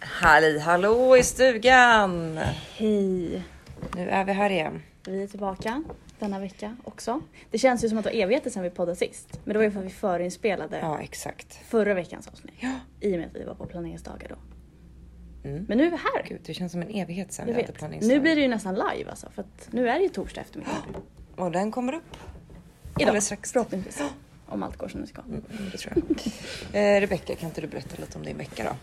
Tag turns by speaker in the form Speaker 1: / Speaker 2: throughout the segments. Speaker 1: Halli hallå i stugan!
Speaker 2: Hej!
Speaker 1: Nu är vi här igen.
Speaker 2: Vi är tillbaka denna vecka också. Det känns ju som att det var evigheter sedan vi poddade sist. Men det var ju för att vi förinspelade
Speaker 1: Ja, exakt.
Speaker 2: förra veckans avsnitt.
Speaker 1: Ja.
Speaker 2: I och med att vi var på planeringsdagar då.
Speaker 1: Mm.
Speaker 2: Men nu är vi här!
Speaker 1: Gud, det känns som en evighet sedan
Speaker 2: Jag
Speaker 1: vi hade
Speaker 2: vet.
Speaker 1: planeringsdag.
Speaker 2: Nu blir det ju nästan live alltså. För att nu är det ju torsdag eftermiddag.
Speaker 1: Och den kommer upp.
Speaker 2: Idag
Speaker 1: Alldeles strax.
Speaker 2: förhoppningsvis. Om allt går som det ska.
Speaker 1: Mm, det tror jag. Eh, Rebecka, kan inte du berätta lite om din vecka då?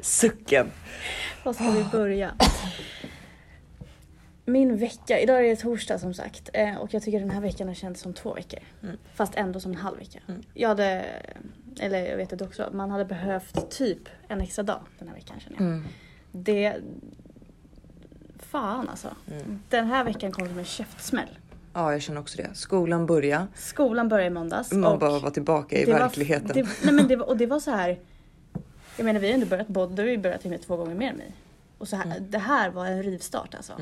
Speaker 1: Sucken.
Speaker 2: Var ska vi börja? Min vecka, idag är det torsdag som sagt eh, och jag tycker den här veckan har känts som två veckor.
Speaker 1: Mm.
Speaker 2: Fast ändå som en halv vecka. Jag hade, eller jag vet det också, man hade behövt typ en extra dag den här veckan känner jag.
Speaker 1: Mm.
Speaker 2: Det... Fan alltså.
Speaker 1: Mm.
Speaker 2: Den här veckan kom som en käftsmäll.
Speaker 1: Ja, jag känner också det. Skolan börjar.
Speaker 2: Skolan började i måndags.
Speaker 1: Man
Speaker 2: och
Speaker 1: bara var tillbaka i
Speaker 2: det var-
Speaker 1: verkligheten.
Speaker 2: Det, nej men det var, och det var så här. Jag menar vi har ändå börjat båda, du har ju börjat med två gånger mer än mig. Och så här,
Speaker 1: Mm.
Speaker 2: det här var en rivstart alltså.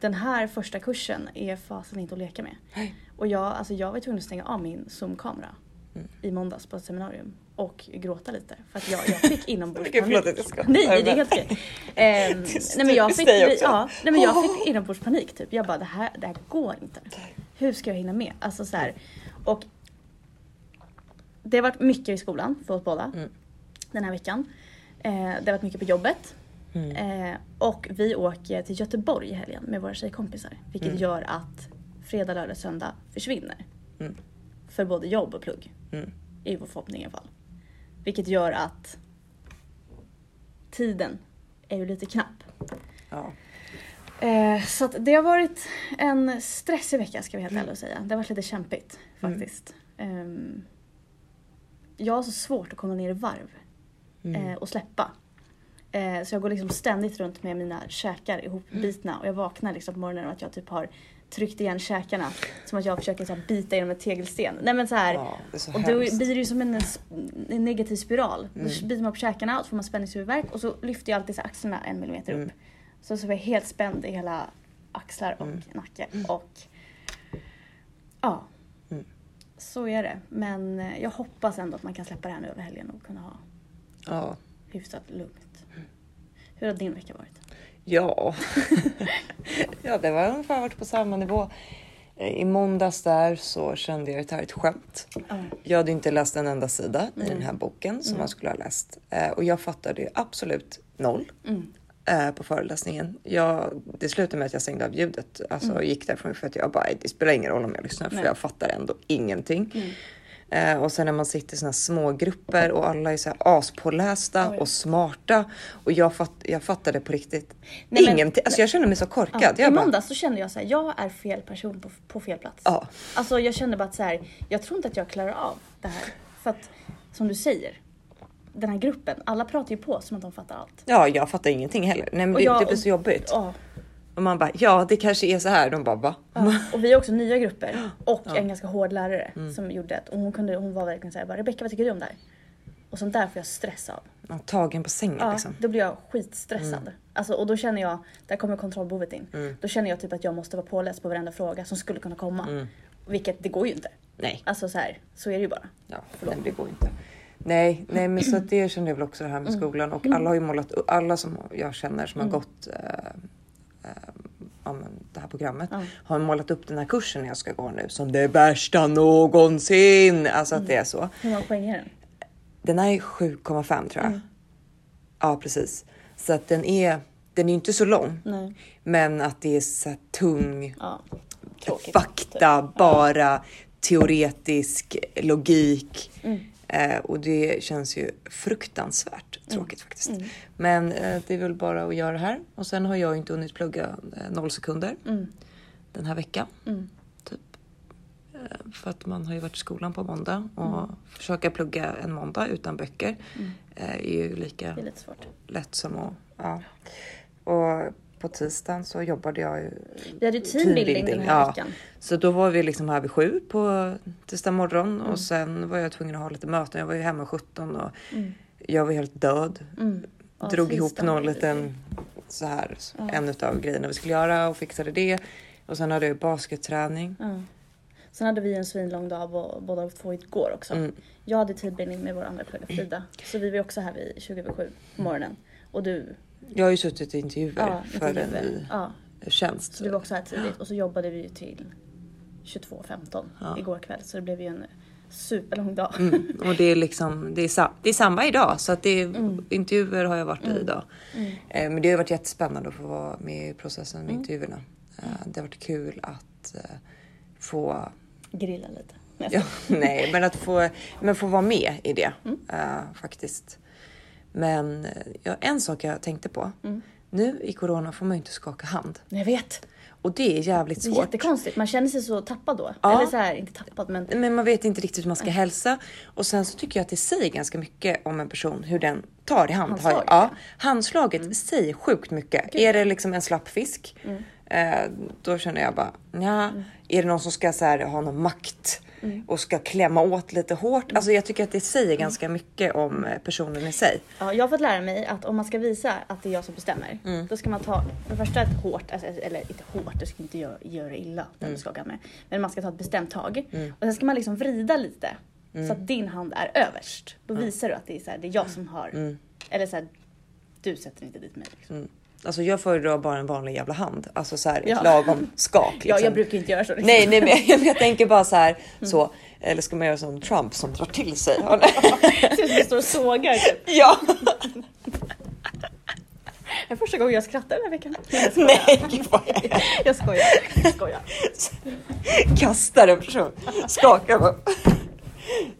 Speaker 2: Den här första kursen är fasen inte att leka med.
Speaker 1: Nej.
Speaker 2: Och jag, alltså jag var tvungen att stänga av min zoom-kamera
Speaker 1: Mm.
Speaker 2: i måndags på ett seminarium och gråta lite för att jag, jag fick inombordspanik.
Speaker 1: Okej, förlåt att jag skrattar,
Speaker 2: nej, nej, det är
Speaker 1: men-
Speaker 2: helt okej. Ehm,
Speaker 1: är så
Speaker 2: nej men jag
Speaker 1: typiskt
Speaker 2: fick,
Speaker 1: dig också.
Speaker 2: ja, nej, men jag fick inombordspanik typ. Jag bara det här, det här går inte. Hur ska jag hinna med? Alltså så här. Och det har varit mycket i skolan för oss båda
Speaker 1: Mm,
Speaker 2: den här veckan. Eh, det har varit mycket på jobbet.
Speaker 1: mm,
Speaker 2: Eh, och vi åker till Göteborg i helgen med våra tjejkompisar. Vilket gör att fredag, lördag, söndag försvinner. För både jobb och plugg.
Speaker 1: Mm.
Speaker 2: I vår förhoppning i alla fall. Vilket gör att tiden är ju lite knapp.
Speaker 1: Ja.
Speaker 2: Eh, så att det har varit en stressig vecka ska vi helt ärligt säga. Det har varit lite kämpigt faktiskt. Ehm, jag har så svårt att komma ner i varv
Speaker 1: Mm.
Speaker 2: eh, och släppa. Eh, så jag går liksom ständigt runt med mina käkar ihopbitna och jag vaknar liksom på morgonen och att jag typ har tryckt igen käkarna. Som att jag försöker så här, bita genom en tegelsten. Nej men så här,
Speaker 1: ja, det är så
Speaker 2: och då
Speaker 1: hemskt.
Speaker 2: blir det ju som en, sp- en negativ spiral. Då biter man på käkarna och så får man spänningshuvudvärk och så lyfter jag alltid så axlarna en millimeter upp. Så, så var jag helt spänd i hela axlar och nacke. Och ja, så är det. Men eh, jag hoppas ändå att man kan släppa det här nu över helgen och kunna ha
Speaker 1: Ja.
Speaker 2: hyfsat lugnt. Hur har din vecka varit?
Speaker 1: Ja. ja, det var ungefär varit på samma nivå. Eh, I måndags där så kände jag att det här är ett skämt. Jag hade inte läst en enda sida i den här boken som man skulle ha läst. Eh, Och jag fattade ju absolut noll
Speaker 2: Mm.
Speaker 1: eh, på föreläsningen. Jag, det slutade med att jag stängde av ljudet alltså,
Speaker 2: Mm.
Speaker 1: och gick därifrån för att jag bara, det spelar ingen roll om jag lyssnar för jag fattar ändå ingenting.
Speaker 2: Mm.
Speaker 1: Eh, och sen när man sitter i såna små grupper och alla är så här aspålästa och smarta och jag, fatt, jag fattade på riktigt
Speaker 2: Nej, men-
Speaker 1: ingenting. Alltså jag kände mig så korkad.
Speaker 2: Ja, I
Speaker 1: jag bara,
Speaker 2: måndags så kände jag så här, jag är fel person på, på fel plats.
Speaker 1: Ja.
Speaker 2: Alltså jag kände bara att så här, jag tror inte att jag klarar av det här. För att som du säger, den här gruppen, alla pratar ju på som att de fattar allt.
Speaker 1: ja, jag fattar ingenting heller. Nej, men
Speaker 2: Och
Speaker 1: det,
Speaker 2: jag-
Speaker 1: det blir så jobbigt.
Speaker 2: Ja.
Speaker 1: Och man bara, ja det kanske är så här. De bara, va?
Speaker 2: Och vi är också nya grupper och en ganska hård lärare
Speaker 1: Mm.
Speaker 2: som gjorde att och hon, kunde, hon var verkligen såhär, Rebecka vad tycker du om det här? Och sånt där får jag stress av.
Speaker 1: Man är tagen på sängen
Speaker 2: Ja,
Speaker 1: liksom. Mm.
Speaker 2: Då blir jag skitstressad. Alltså, och då känner jag, där kommer kontrollbehovet in. Då känner jag typ att jag måste vara påläst på varenda fråga som skulle kunna komma.
Speaker 1: Mm.
Speaker 2: Vilket, det går ju inte.
Speaker 1: Nej,
Speaker 2: Alltså så här, så är det ju bara.
Speaker 1: ja, nej, det går inte. Nej, nej, men så att det kände jag väl också det här med
Speaker 2: Mm.
Speaker 1: skolan och alla har ju målat upp, alla som jag känner som har gått eh, eh, ja, men det här programmet har målat upp den här kursen jag ska gå nu som det värsta någonsin. Alltså att det är så.
Speaker 2: Hur många poäng är den?
Speaker 1: Den här är 7,5 tror jag. Ja, precis. Så att den är, den är inte så lång,
Speaker 2: Nej.
Speaker 1: men att det är så här tung
Speaker 2: Ja. Tråkigt.
Speaker 1: fakta, bara teoretisk logik.
Speaker 2: Mm.
Speaker 1: Eh, och det känns ju fruktansvärt
Speaker 2: Mm.
Speaker 1: tråkigt faktiskt. Men eh, det är väl bara att göra det här. Och sen har jag inte hunnit plugga eh, noll sekunder
Speaker 2: Mm.
Speaker 1: den här veckan. Typ. Eh, För att man har ju varit i skolan på måndag
Speaker 2: Mm.
Speaker 1: och försöka plugga en måndag utan böcker eh, är ju lika
Speaker 2: Det Mm. är lite svårt.
Speaker 1: lätt som att... Ja. Och på tisdagen så jobbade jag ju...
Speaker 2: Vi hade ju teambuilding den här veckan.
Speaker 1: Så då var vi liksom här vid sju på tisdag morgon
Speaker 2: Mm.
Speaker 1: och sen var jag tvungen att ha lite möten. Jag var ju hemma 17 och jag var helt död.
Speaker 2: Mm. Ja,
Speaker 1: Drog ihop
Speaker 2: tisdagen var
Speaker 1: någon
Speaker 2: det
Speaker 1: liten så här, en utav grejerna vi skulle göra och fixade det. Och sen hade jag ju basketträning.
Speaker 2: Sen hade vi en svinlång dag bå- båda två igår också.
Speaker 1: Mm.
Speaker 2: Jag hade tidbindning med vår andra kollega Frida. Så vi var också här vid 20 över sju på morgonen. Och du,
Speaker 1: Jag har ju suttit i intervjuer
Speaker 2: ja, inte
Speaker 1: för en
Speaker 2: Liv.
Speaker 1: ny
Speaker 2: ja,
Speaker 1: tjänst.
Speaker 2: så du var också här tidigt. Och så jobbade vi ju till 22.15
Speaker 1: Ja.
Speaker 2: igår kväll. Så det blev ju en superlång dag.
Speaker 1: Mm. Och det är liksom, det är, sa, det är samma idag så att det är,
Speaker 2: Mm.
Speaker 1: intervjuer har jag varit i idag. Eh, men det har varit jättespännande att få vara med i processen
Speaker 2: Mm.
Speaker 1: med intervjuerna. Eh, det har varit kul att eh, få,
Speaker 2: Grilla lite.
Speaker 1: ja, nej men att få, men få vara med i det
Speaker 2: Mm.
Speaker 1: eh, faktiskt. Men eh, ja, en sak jag tänkte på.
Speaker 2: Mm.
Speaker 1: Nu i corona får man ju inte skaka hand
Speaker 2: Jag vet.
Speaker 1: och det är jävligt
Speaker 2: Det är
Speaker 1: svårt.
Speaker 2: jättekonstigt. Man känner sig så tappad då.
Speaker 1: Ja.
Speaker 2: Eller så här, inte tappad men
Speaker 1: men man vet inte riktigt hur man
Speaker 2: Mm.
Speaker 1: ska hälsa. Och sen så tycker jag att det säger ganska mycket om en person hur den tar i hand.
Speaker 2: Handslaget, Mm.
Speaker 1: Har- ja, handslaget säger sjukt mycket. Är det liksom en slapp fisk, eh, då känner jag bara ja.
Speaker 2: Mm.
Speaker 1: Är det någon som ska så här, ha någon makt och ska klämma åt lite hårt?
Speaker 2: Mm.
Speaker 1: Alltså jag tycker att det säger ganska mycket om eh, personen i sig.
Speaker 2: Ja, jag har fått lära mig att om man ska visa att det är jag som bestämmer,
Speaker 1: Mm.
Speaker 2: då ska man ta för det första ett hårt, alltså, eller inte hårt, du ska inte göra, göra illa den
Speaker 1: Mm.
Speaker 2: du skakar med, men man ska ta ett bestämt tag. Och sen ska man liksom vrida lite
Speaker 1: Mm.
Speaker 2: så att din hand är överst. Då visar du att det är, så här, det är jag som har,
Speaker 1: Mm.
Speaker 2: eller så här, du sätter inte dit mig. Liksom.
Speaker 1: Alltså jag föredrar bara en vanlig jävla hand. Alltså så här, ett
Speaker 2: Ja.
Speaker 1: lagom skak.
Speaker 2: Ja,
Speaker 1: liksom.
Speaker 2: jag brukar Mm. inte göra så. Liksom.
Speaker 1: Nej, nej, men jag, jag tänker bara så här. Så, eller ska man göra som Trump som drar till sig?
Speaker 2: Det ser ut som jag står och sågar. typ.
Speaker 1: ja.
Speaker 2: Det är första gången jag skrattar den här veckan. Jag skojar.
Speaker 1: Nej, gud vad jag är.
Speaker 2: Jag skojar. Jag skojar.
Speaker 1: kastar en person. Skakar bara.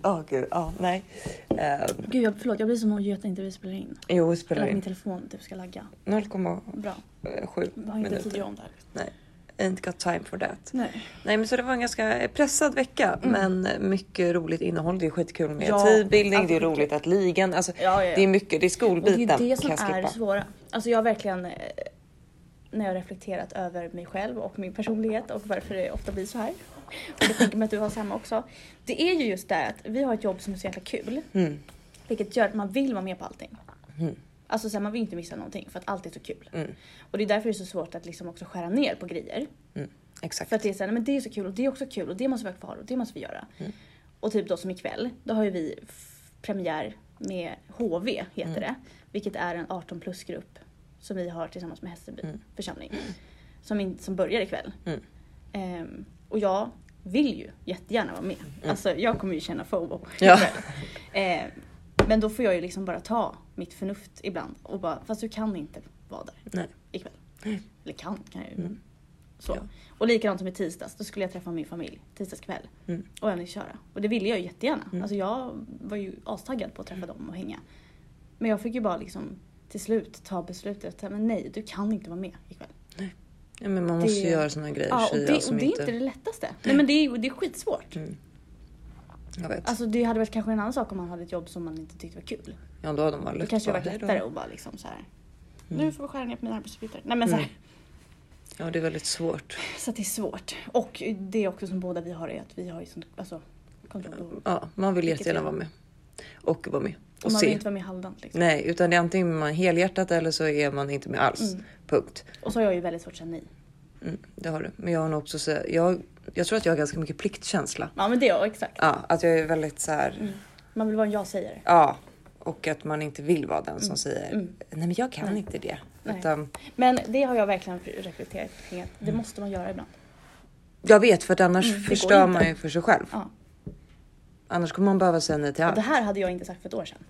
Speaker 1: Ja, gud. Ja, nej. Eh,
Speaker 2: Gud, jag, förlåt, jag blir som en göt när inte vi spelar in.
Speaker 1: jo, det spelar
Speaker 2: Eller att min
Speaker 1: in.
Speaker 2: telefon typ ska lagga.
Speaker 1: 0,7
Speaker 2: Bra. Vi har inte tid att göra
Speaker 1: minuter.
Speaker 2: om det här.
Speaker 1: Nej, ain't got time for that.
Speaker 2: Nej. Mm.
Speaker 1: Nej, men så det var en ganska pressad vecka, men mycket roligt innehåll. Det är skitkul med
Speaker 2: Ja,
Speaker 1: tidbildning. Det är
Speaker 2: alltså,
Speaker 1: roligt att ligan, alltså
Speaker 2: Ja, ja, ja.
Speaker 1: det är mycket. Det är
Speaker 2: Och det är ju
Speaker 1: skolbiten
Speaker 2: det som
Speaker 1: kan jag
Speaker 2: är
Speaker 1: skippa.
Speaker 2: svåra. Alltså jag har verkligen eh, när jag har reflekterat över mig själv och min personlighet och varför det ofta blir så här. Och jag tänker mig att du har samma också. Det är ju just det att vi har ett jobb som är så jäkla kul.
Speaker 1: Mm,
Speaker 2: Vilket gör att man vill vara med på allting. Alltså så här, man vill inte missa någonting för att allt är så kul.
Speaker 1: Mm.
Speaker 2: Och det är därför det är så svårt att liksom också skära ner på grejer.
Speaker 1: mm, exakt.
Speaker 2: För att det är såhär, men det är så kul och det är också kul och det måste vi ha kvar och det måste vi göra.
Speaker 1: Mm.
Speaker 2: Och typ då som ikväll, då har ju vi f- premiär med HV, heter
Speaker 1: Mm.
Speaker 2: det. Vilket är en 18 plus-grupp som vi har tillsammans med Hässelby församling. Som, in, som börjar ikväll.
Speaker 1: Mm.
Speaker 2: Ehm, och jag vill ju jättegärna vara med. Alltså jag kommer ju känna FOMO.
Speaker 1: Mm. Ja.
Speaker 2: Ehm, men då får jag ju liksom bara ta mitt förnuft ibland och bara, fast du kan inte vara där
Speaker 1: Nej.
Speaker 2: ikväll. Eller kan, kan jag ju. men Så.
Speaker 1: Mm. Ja.
Speaker 2: Och likadant som i tisdags, då skulle jag träffa min familj tisdagskväll
Speaker 1: Mm.
Speaker 2: och övningsköra. Och det ville jag ju jättegärna. Alltså jag var ju astaggad på att
Speaker 1: Mm.
Speaker 2: träffa dem och hänga. Men jag fick ju bara liksom till slut ta beslutet att men nej, du kan inte vara med ikväll.
Speaker 1: Ja, men man måste ju
Speaker 2: Det-
Speaker 1: göra såna grejer.
Speaker 2: Ja, och
Speaker 1: tjejer,
Speaker 2: det, och
Speaker 1: som Mm.
Speaker 2: det är inte det lättaste. Nej men det är, ju- det är skitsvårt.
Speaker 1: Jag vet.
Speaker 2: Alltså det hade varit kanske en annan sak om man hade ett jobb som man inte tyckte var kul.
Speaker 1: ja, då hade de bara
Speaker 2: Då
Speaker 1: lyft
Speaker 2: kanske det
Speaker 1: bara,
Speaker 2: varit
Speaker 1: "Hej då." Mm.
Speaker 2: lättare att bara liksom så här. Nu får vi skära ner på mina arbetsuppgifter. Nej men så här.
Speaker 1: Ja, det är väldigt svårt.
Speaker 2: Så att det är svårt. Och det är också som båda vi har är att vi har ju sånt, alltså, kontroll på-
Speaker 1: Ja, man vill
Speaker 2: Vilket
Speaker 1: jättegärna
Speaker 2: är-
Speaker 1: vara med. Och vara med. Och
Speaker 2: Man
Speaker 1: se.
Speaker 2: vill inte vara med halvdant liksom.
Speaker 1: Nej, utan det är antingen man helhjärtat eller så är man inte med alls.
Speaker 2: Mm.
Speaker 1: Punkt.
Speaker 2: Och så har jag ju väldigt svårt att säga nej.
Speaker 1: Mm, det har du. Men jag har nog också så, jag, jag tror att jag har ganska mycket pliktkänsla.
Speaker 2: Ja men det är jag, exakt.
Speaker 1: Ja, att jag är väldigt så här.
Speaker 2: Mm. Man vill vara en jag-sägare.
Speaker 1: Ja, och att man inte vill vara den som säger nej, men jag kan inte det.
Speaker 2: Mm. Nej.
Speaker 1: Utan,
Speaker 2: Men det har jag verkligen reflekterat kring att
Speaker 1: Mm.
Speaker 2: det måste man göra ibland.
Speaker 1: jag vet för att annars
Speaker 2: Mm, går
Speaker 1: förstör
Speaker 2: inte.
Speaker 1: man ju för sig själv.
Speaker 2: Ja.
Speaker 1: Annars kommer man behöva säga nej till
Speaker 2: Och det
Speaker 1: allt.
Speaker 2: här hade jag inte sagt för ett år sedan.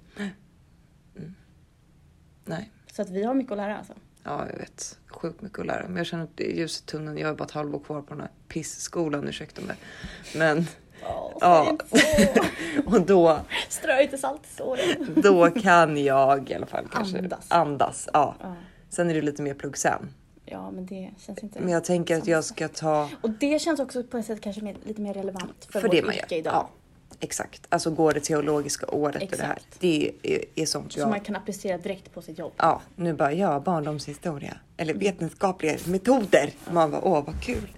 Speaker 1: Nej,
Speaker 2: Så att vi har mycket att lära alltså.
Speaker 1: ja, jag vet. Sjukt mycket att lära. Men jag känner att det är ljus i tunneln. Jag är bara ett halvår kvar på den här pissskolan, ursäkta mig. Men
Speaker 2: Oh,
Speaker 1: Ja. och då
Speaker 2: Strö inte salt i såren.
Speaker 1: Då kan jag i alla fall kanske
Speaker 2: Andas.
Speaker 1: andas, ja.
Speaker 2: Ja.
Speaker 1: Sen är det lite mer plugg sen.
Speaker 2: Ja men det känns inte...
Speaker 1: Men jag tänker att jag ska ta
Speaker 2: Och det känns också på ett sätt kanske mer, lite mer relevant för,
Speaker 1: för
Speaker 2: vårt
Speaker 1: det man gör.
Speaker 2: yrke idag.
Speaker 1: Ja, exakt. Alltså går det teologiska året och det här.
Speaker 2: Exakt.
Speaker 1: Det är, är sånt
Speaker 2: Som
Speaker 1: jag...
Speaker 2: man kan applicera direkt på sitt jobb.
Speaker 1: Ja, nu bara ja, barndomshistoria. Eller vetenskapliga metoder. Man bara åh vad kul.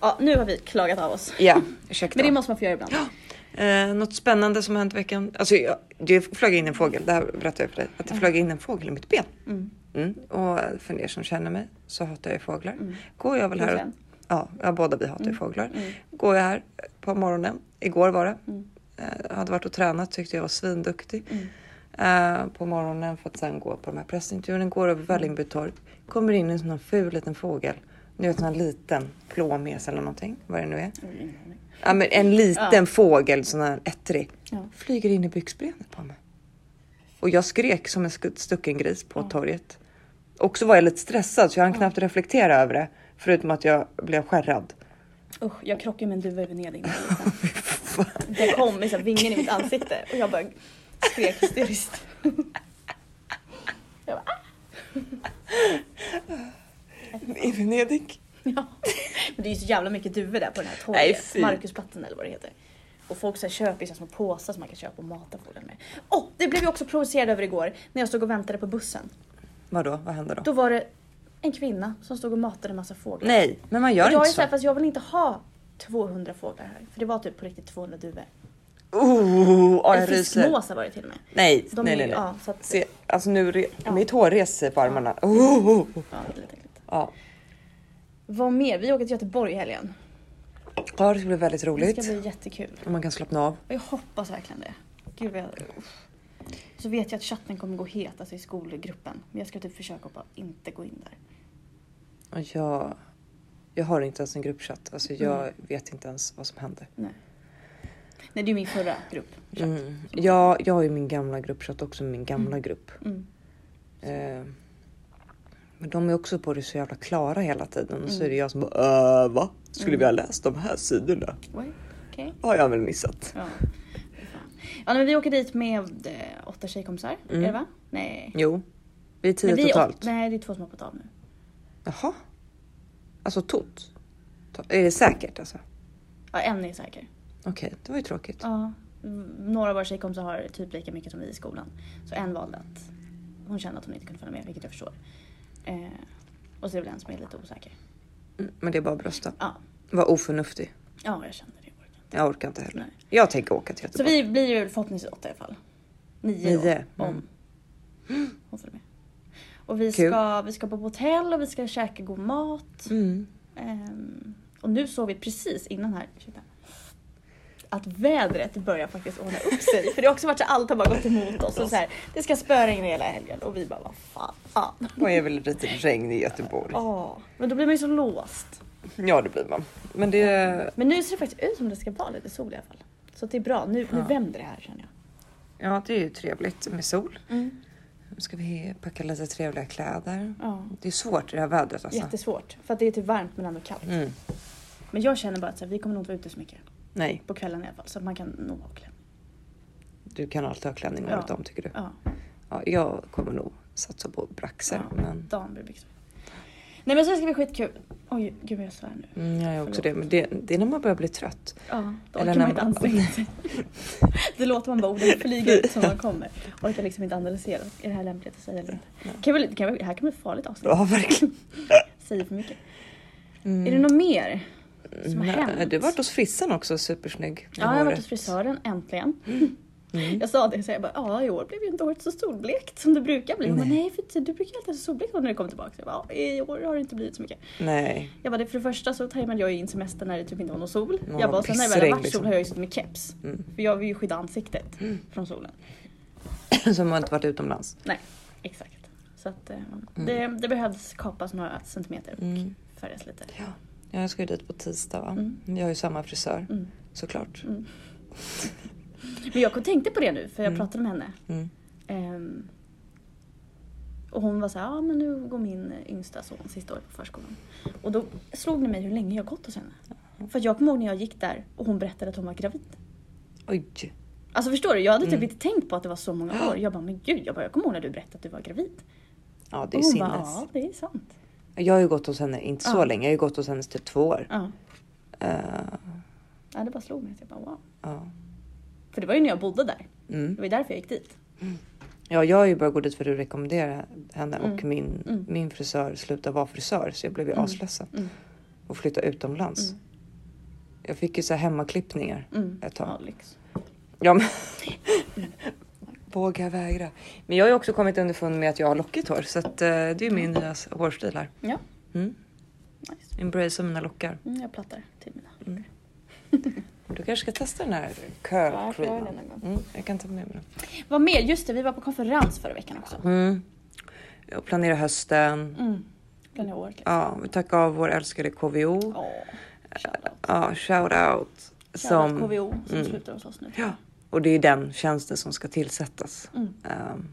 Speaker 2: Ja, nu har vi klagat av oss.
Speaker 1: Ja, ursäkta.
Speaker 2: Men det måste man få göra ibland.
Speaker 1: Eh, något spännande som har hänt i veckan? Alltså, jag, det flög in en fågel, det här berättade jag för dig, att det flög in en fågel i mitt ben. Mm. Och för er som känner mig så hatar jag ju fåglar. Går jag väl här
Speaker 2: Vilken?
Speaker 1: och... ja, ja, båda vi hatar ju fåglar. Går jag här på morgonen, igår var det. Eh, hade varit och tränat, tyckte jag var svinduktig. Eh, på morgonen för att sen gå på de här pressintervjuerna. Går över Vällingby torg, kommer in en sån här ful liten fågel. Ni vet en liten flåmes eller någonting, vad det nu är. Ja, men en liten fågel, sån här ettrig,
Speaker 2: Ja.
Speaker 1: flyger in i byxbenet på mig. Och jag skrek som en sku- stucken gris på torget. Och så var jag lite stressad så jag hann knappt reflektera över det. Förutom att jag blev skärrad.
Speaker 2: Usch, jag krockade med en duva i Venedig. när jag var liten. Det kom liksom vingen i mitt ansikte och jag bara skrek hysteriskt. Jag bara, ah!
Speaker 1: I Venedig?
Speaker 2: ja. Men det är ju så jävla mycket duvor där på den här
Speaker 1: Nej,
Speaker 2: torget.
Speaker 1: fy.
Speaker 2: Markusplatsen eller vad det heter. Och folk så här köper ju så här små påsar som man kan köpa och mata fågeln med. Åh, det blev jag också provocerad över igår när jag stod och väntade på bussen.
Speaker 1: Vadå, vad hände då?
Speaker 2: Då var det en kvinna som stod och matade en massa fåglar.
Speaker 1: Nej, alltså. men man gör
Speaker 2: jag är
Speaker 1: inte
Speaker 2: så
Speaker 1: så.
Speaker 2: här, fast jag vill inte ha 200 fåglar här. För det var typ på riktigt 200 duvor.
Speaker 1: Oh, ja,
Speaker 2: Eller
Speaker 1: jag ryser.
Speaker 2: fiskmåsar var det till och med.
Speaker 1: Nej,
Speaker 2: De
Speaker 1: nej,
Speaker 2: är-
Speaker 1: nej. nej.
Speaker 2: ja, så att-
Speaker 1: Se, alltså nu, re-
Speaker 2: Ja.
Speaker 1: mitt hår reser sig på armarna. Oh, oh, oh.
Speaker 2: Ja, det är lite äckligt.
Speaker 1: Ja.
Speaker 2: Vad mer? Vi åker till Göteborg i helgen.
Speaker 1: ja, det ska bli väldigt
Speaker 2: Det ska
Speaker 1: roligt.
Speaker 2: bli jättekul.
Speaker 1: Och man kan slappna av.
Speaker 2: Och jag hoppas verkligen det. Gud vad jag... uff. Så vet jag att chatten kommer gå het, alltså i skolgruppen. Men jag ska typ försöka att bara inte gå in där.
Speaker 1: Och Jag, jag har inte ens en gruppchatt. Alltså jag
Speaker 2: Mm.
Speaker 1: vet inte ens vad som händer.
Speaker 2: Nej. Nej, det är ju min förra grupp.
Speaker 1: Mm. Jag, jag har ju min gamla gruppchatt också, min gamla grupp.
Speaker 2: Mm.
Speaker 1: Eh, men de är också på det så jävla klara hela tiden. Och
Speaker 2: Mm.
Speaker 1: så är det jag som bara, äh, va? Skulle vi ha läst de här sidorna?
Speaker 2: Oj, Okej.
Speaker 1: Har jag väl missat?
Speaker 2: Ja. Fy fan. ja, nej, men vi åker dit med eh, åtta tjejkompisar. Är det va? Nej.
Speaker 1: Jo, vi är Mm. tio
Speaker 2: Men vi är åt-
Speaker 1: totalt.
Speaker 2: Nej, det är två som har hoppat av nu.
Speaker 1: Jaha, alltså tot? To- Är det säkert alltså?
Speaker 2: Ja, en är säker.
Speaker 1: Okej, det var ju tråkigt.
Speaker 2: Ja. Mm, Några av våra tjejkompisar har typ lika mycket som vi i skolan. Så en valde att hon kände att hon inte kunde följa med, vilket jag förstår. Eh, och så är det väl en som är lite osäker.
Speaker 1: Mm, Men det är bara att brösta.
Speaker 2: Ja,
Speaker 1: Var oförnuftig.
Speaker 2: ja jag känner det. Jag
Speaker 1: Jag orkar
Speaker 2: orkar inte.
Speaker 1: inte heller.
Speaker 2: Nej.
Speaker 1: Jag tänker åka till
Speaker 2: Så
Speaker 1: Göteborg.
Speaker 2: vi blir ju förhoppningsvis åtta i alla fall. Nio, då,
Speaker 1: Nio, Mm.
Speaker 2: om hon följer med. Och vi
Speaker 1: Kul.
Speaker 2: ska, vi ska på hotell och vi ska käka god mat.
Speaker 1: Mm.
Speaker 2: Ehm, och nu såg vi precis innan här ursäkta, att vädret börjar faktiskt ordna upp sig. För det har också varit så att allt har bara gått emot oss. Och så här, det ska spöregna hela helgen och vi bara vad fan. Ja.
Speaker 1: Det är väl lite regn i Göteborg.
Speaker 2: Ja, Men då blir man ju så låst.
Speaker 1: Ja, det blir man. Men det...
Speaker 2: Men nu ser det faktiskt ut som det ska vara lite sol i alla fall. Så att det är bra. Nu, nu
Speaker 1: Ja.
Speaker 2: vänder det här känner jag.
Speaker 1: Ja, det är ju trevligt med sol. Nu ska vi packa lite trevliga kläder.
Speaker 2: Ja.
Speaker 1: Det är svårt i det här vädret alltså.
Speaker 2: Jättesvårt. För att det är typ varmt men ändå kallt.
Speaker 1: Mm.
Speaker 2: Men jag känner bara att så här, vi kommer nog inte vara ute så mycket.
Speaker 1: Nej,
Speaker 2: På kvällen i alla fall. Så att man kan nog ha kläder.
Speaker 1: du kan alltid ha klänning året
Speaker 2: Ja.
Speaker 1: om tycker du.
Speaker 2: Ja.
Speaker 1: Ja, jag kommer nog satsa på braxer.
Speaker 2: Ja.
Speaker 1: Men...
Speaker 2: Dambybyxor. Nej men så ska det bli skitkul. Oj gud vad jag svär nu.
Speaker 1: Mm, jag är också
Speaker 2: Förlåt.
Speaker 1: det. Men det, det är när man börjar bli trött.
Speaker 2: Ja, då
Speaker 1: Eller
Speaker 2: orkar
Speaker 1: när
Speaker 2: man inte
Speaker 1: man-
Speaker 2: anstränga sig. Det låter man bara orden flyga ut som man kommer. Orkar liksom inte analysera. Är det här lämpligt att säga eller inte? Kan vi, kan vi, här kan bli ett farligt avsnitt.
Speaker 1: Ja, verkligen.
Speaker 2: Säger för mycket. Är Mm. det något mer som har
Speaker 1: Mm. Nej,
Speaker 2: hänt?
Speaker 1: du har varit hos frissan också, supersnygg. Mm. med
Speaker 2: Ja, jag har
Speaker 1: håret.
Speaker 2: varit hos frisören äntligen. Jag sa det så jag bara, ja i år blev ju inte håret så solblekt som det brukar bli. Hon bara, nej för du brukar ju alltid ha så solblekt hår när du kommer tillbaka. Så jag bara, ja, i år har det inte blivit så mycket.
Speaker 1: Nej,
Speaker 2: Jag bara, det- för det första så tajmade jag ju in semestern när det typ inte var någon sol.
Speaker 1: Ja,
Speaker 2: jag bara, sen när det väl har
Speaker 1: pissregn,
Speaker 2: varit
Speaker 1: liksom.
Speaker 2: sol har jag ju suttit med keps.
Speaker 1: Mm.
Speaker 2: För jag vill ju skydda ansiktet från solen.
Speaker 1: som har inte varit utomlands.
Speaker 2: Nej, exakt. Så att eh,
Speaker 1: Mm.
Speaker 2: det, det behövs kapas några centimeter och färgas lite.
Speaker 1: Ja, jag ska ju dit på tisdag va?
Speaker 2: Mm.
Speaker 1: Jag har ju samma frisör såklart.
Speaker 2: Men jag tänkte på det nu för jag
Speaker 1: Mm.
Speaker 2: pratade med henne. Ehm, och hon var så här, ja men nu går min yngsta son sista året på förskolan. Och då slog det mig hur länge jag gått hos henne.
Speaker 1: Mm.
Speaker 2: För att jag kommer ihåg när jag gick där och hon berättade att hon var gravid.
Speaker 1: Oj,
Speaker 2: Alltså förstår du, jag hade typ
Speaker 1: Mm.
Speaker 2: inte tänkt på att det var så många år. Jag bara, men gud, jag, bara, jag kommer ihåg när du berättade att du var gravid.
Speaker 1: ja det är
Speaker 2: Och
Speaker 1: ju sinnes.
Speaker 2: hon bara, ja det är sant.
Speaker 1: Jag har ju gått hos henne, inte så
Speaker 2: Ja.
Speaker 1: länge, jag har ju gått hos henne typ två år.
Speaker 2: Ja.
Speaker 1: Eh,
Speaker 2: ja, det bara slog mig. Så jag bara, wow.
Speaker 1: ja.
Speaker 2: För det var ju när jag bodde där.
Speaker 1: Mm.
Speaker 2: Det var ju därför jag gick dit.
Speaker 1: ja, jag har ju börjat gå dit för att du rekommenderar henne och
Speaker 2: Mm.
Speaker 1: min,
Speaker 2: Mm.
Speaker 1: min frisör slutade vara frisör så jag blev ju
Speaker 2: Mm.
Speaker 1: asledsen
Speaker 2: Mm.
Speaker 1: och flyttade utomlands. Jag fick ju så här hemmaklippningar
Speaker 2: Mm.
Speaker 1: ett tag.
Speaker 2: Ja, lyx.
Speaker 1: Ja, men... Våga vägra. Men jag har ju också kommit underfund med att jag har lockigt hår så att, eh, det är ju min nya hårstil här.
Speaker 2: Ja.
Speaker 1: Mm.
Speaker 2: Nice.
Speaker 1: Embracea mina lockar.
Speaker 2: Mm, jag plattar till mina.
Speaker 1: Mm. Du kanske ska testa den här
Speaker 2: Ja, jag får göra det
Speaker 1: curlcreamen?
Speaker 2: någon gång.
Speaker 1: Mm, jag kan ta med mig den.
Speaker 2: Vad mer? Just det, vi var på konferens förra veckan också.
Speaker 1: Mm. Jag planerar hösten.
Speaker 2: Mm. Planerar året liksom.
Speaker 1: Ja, vi tackar av vår älskade KVO.
Speaker 2: Åh, shoutout.
Speaker 1: Ja, shout out.
Speaker 2: Shoutout
Speaker 1: Som,
Speaker 2: KVO som
Speaker 1: Mm.
Speaker 2: slutar hos oss nu.
Speaker 1: ja, och det är den tjänsten som ska tillsättas.
Speaker 2: Mm.
Speaker 1: Ehm,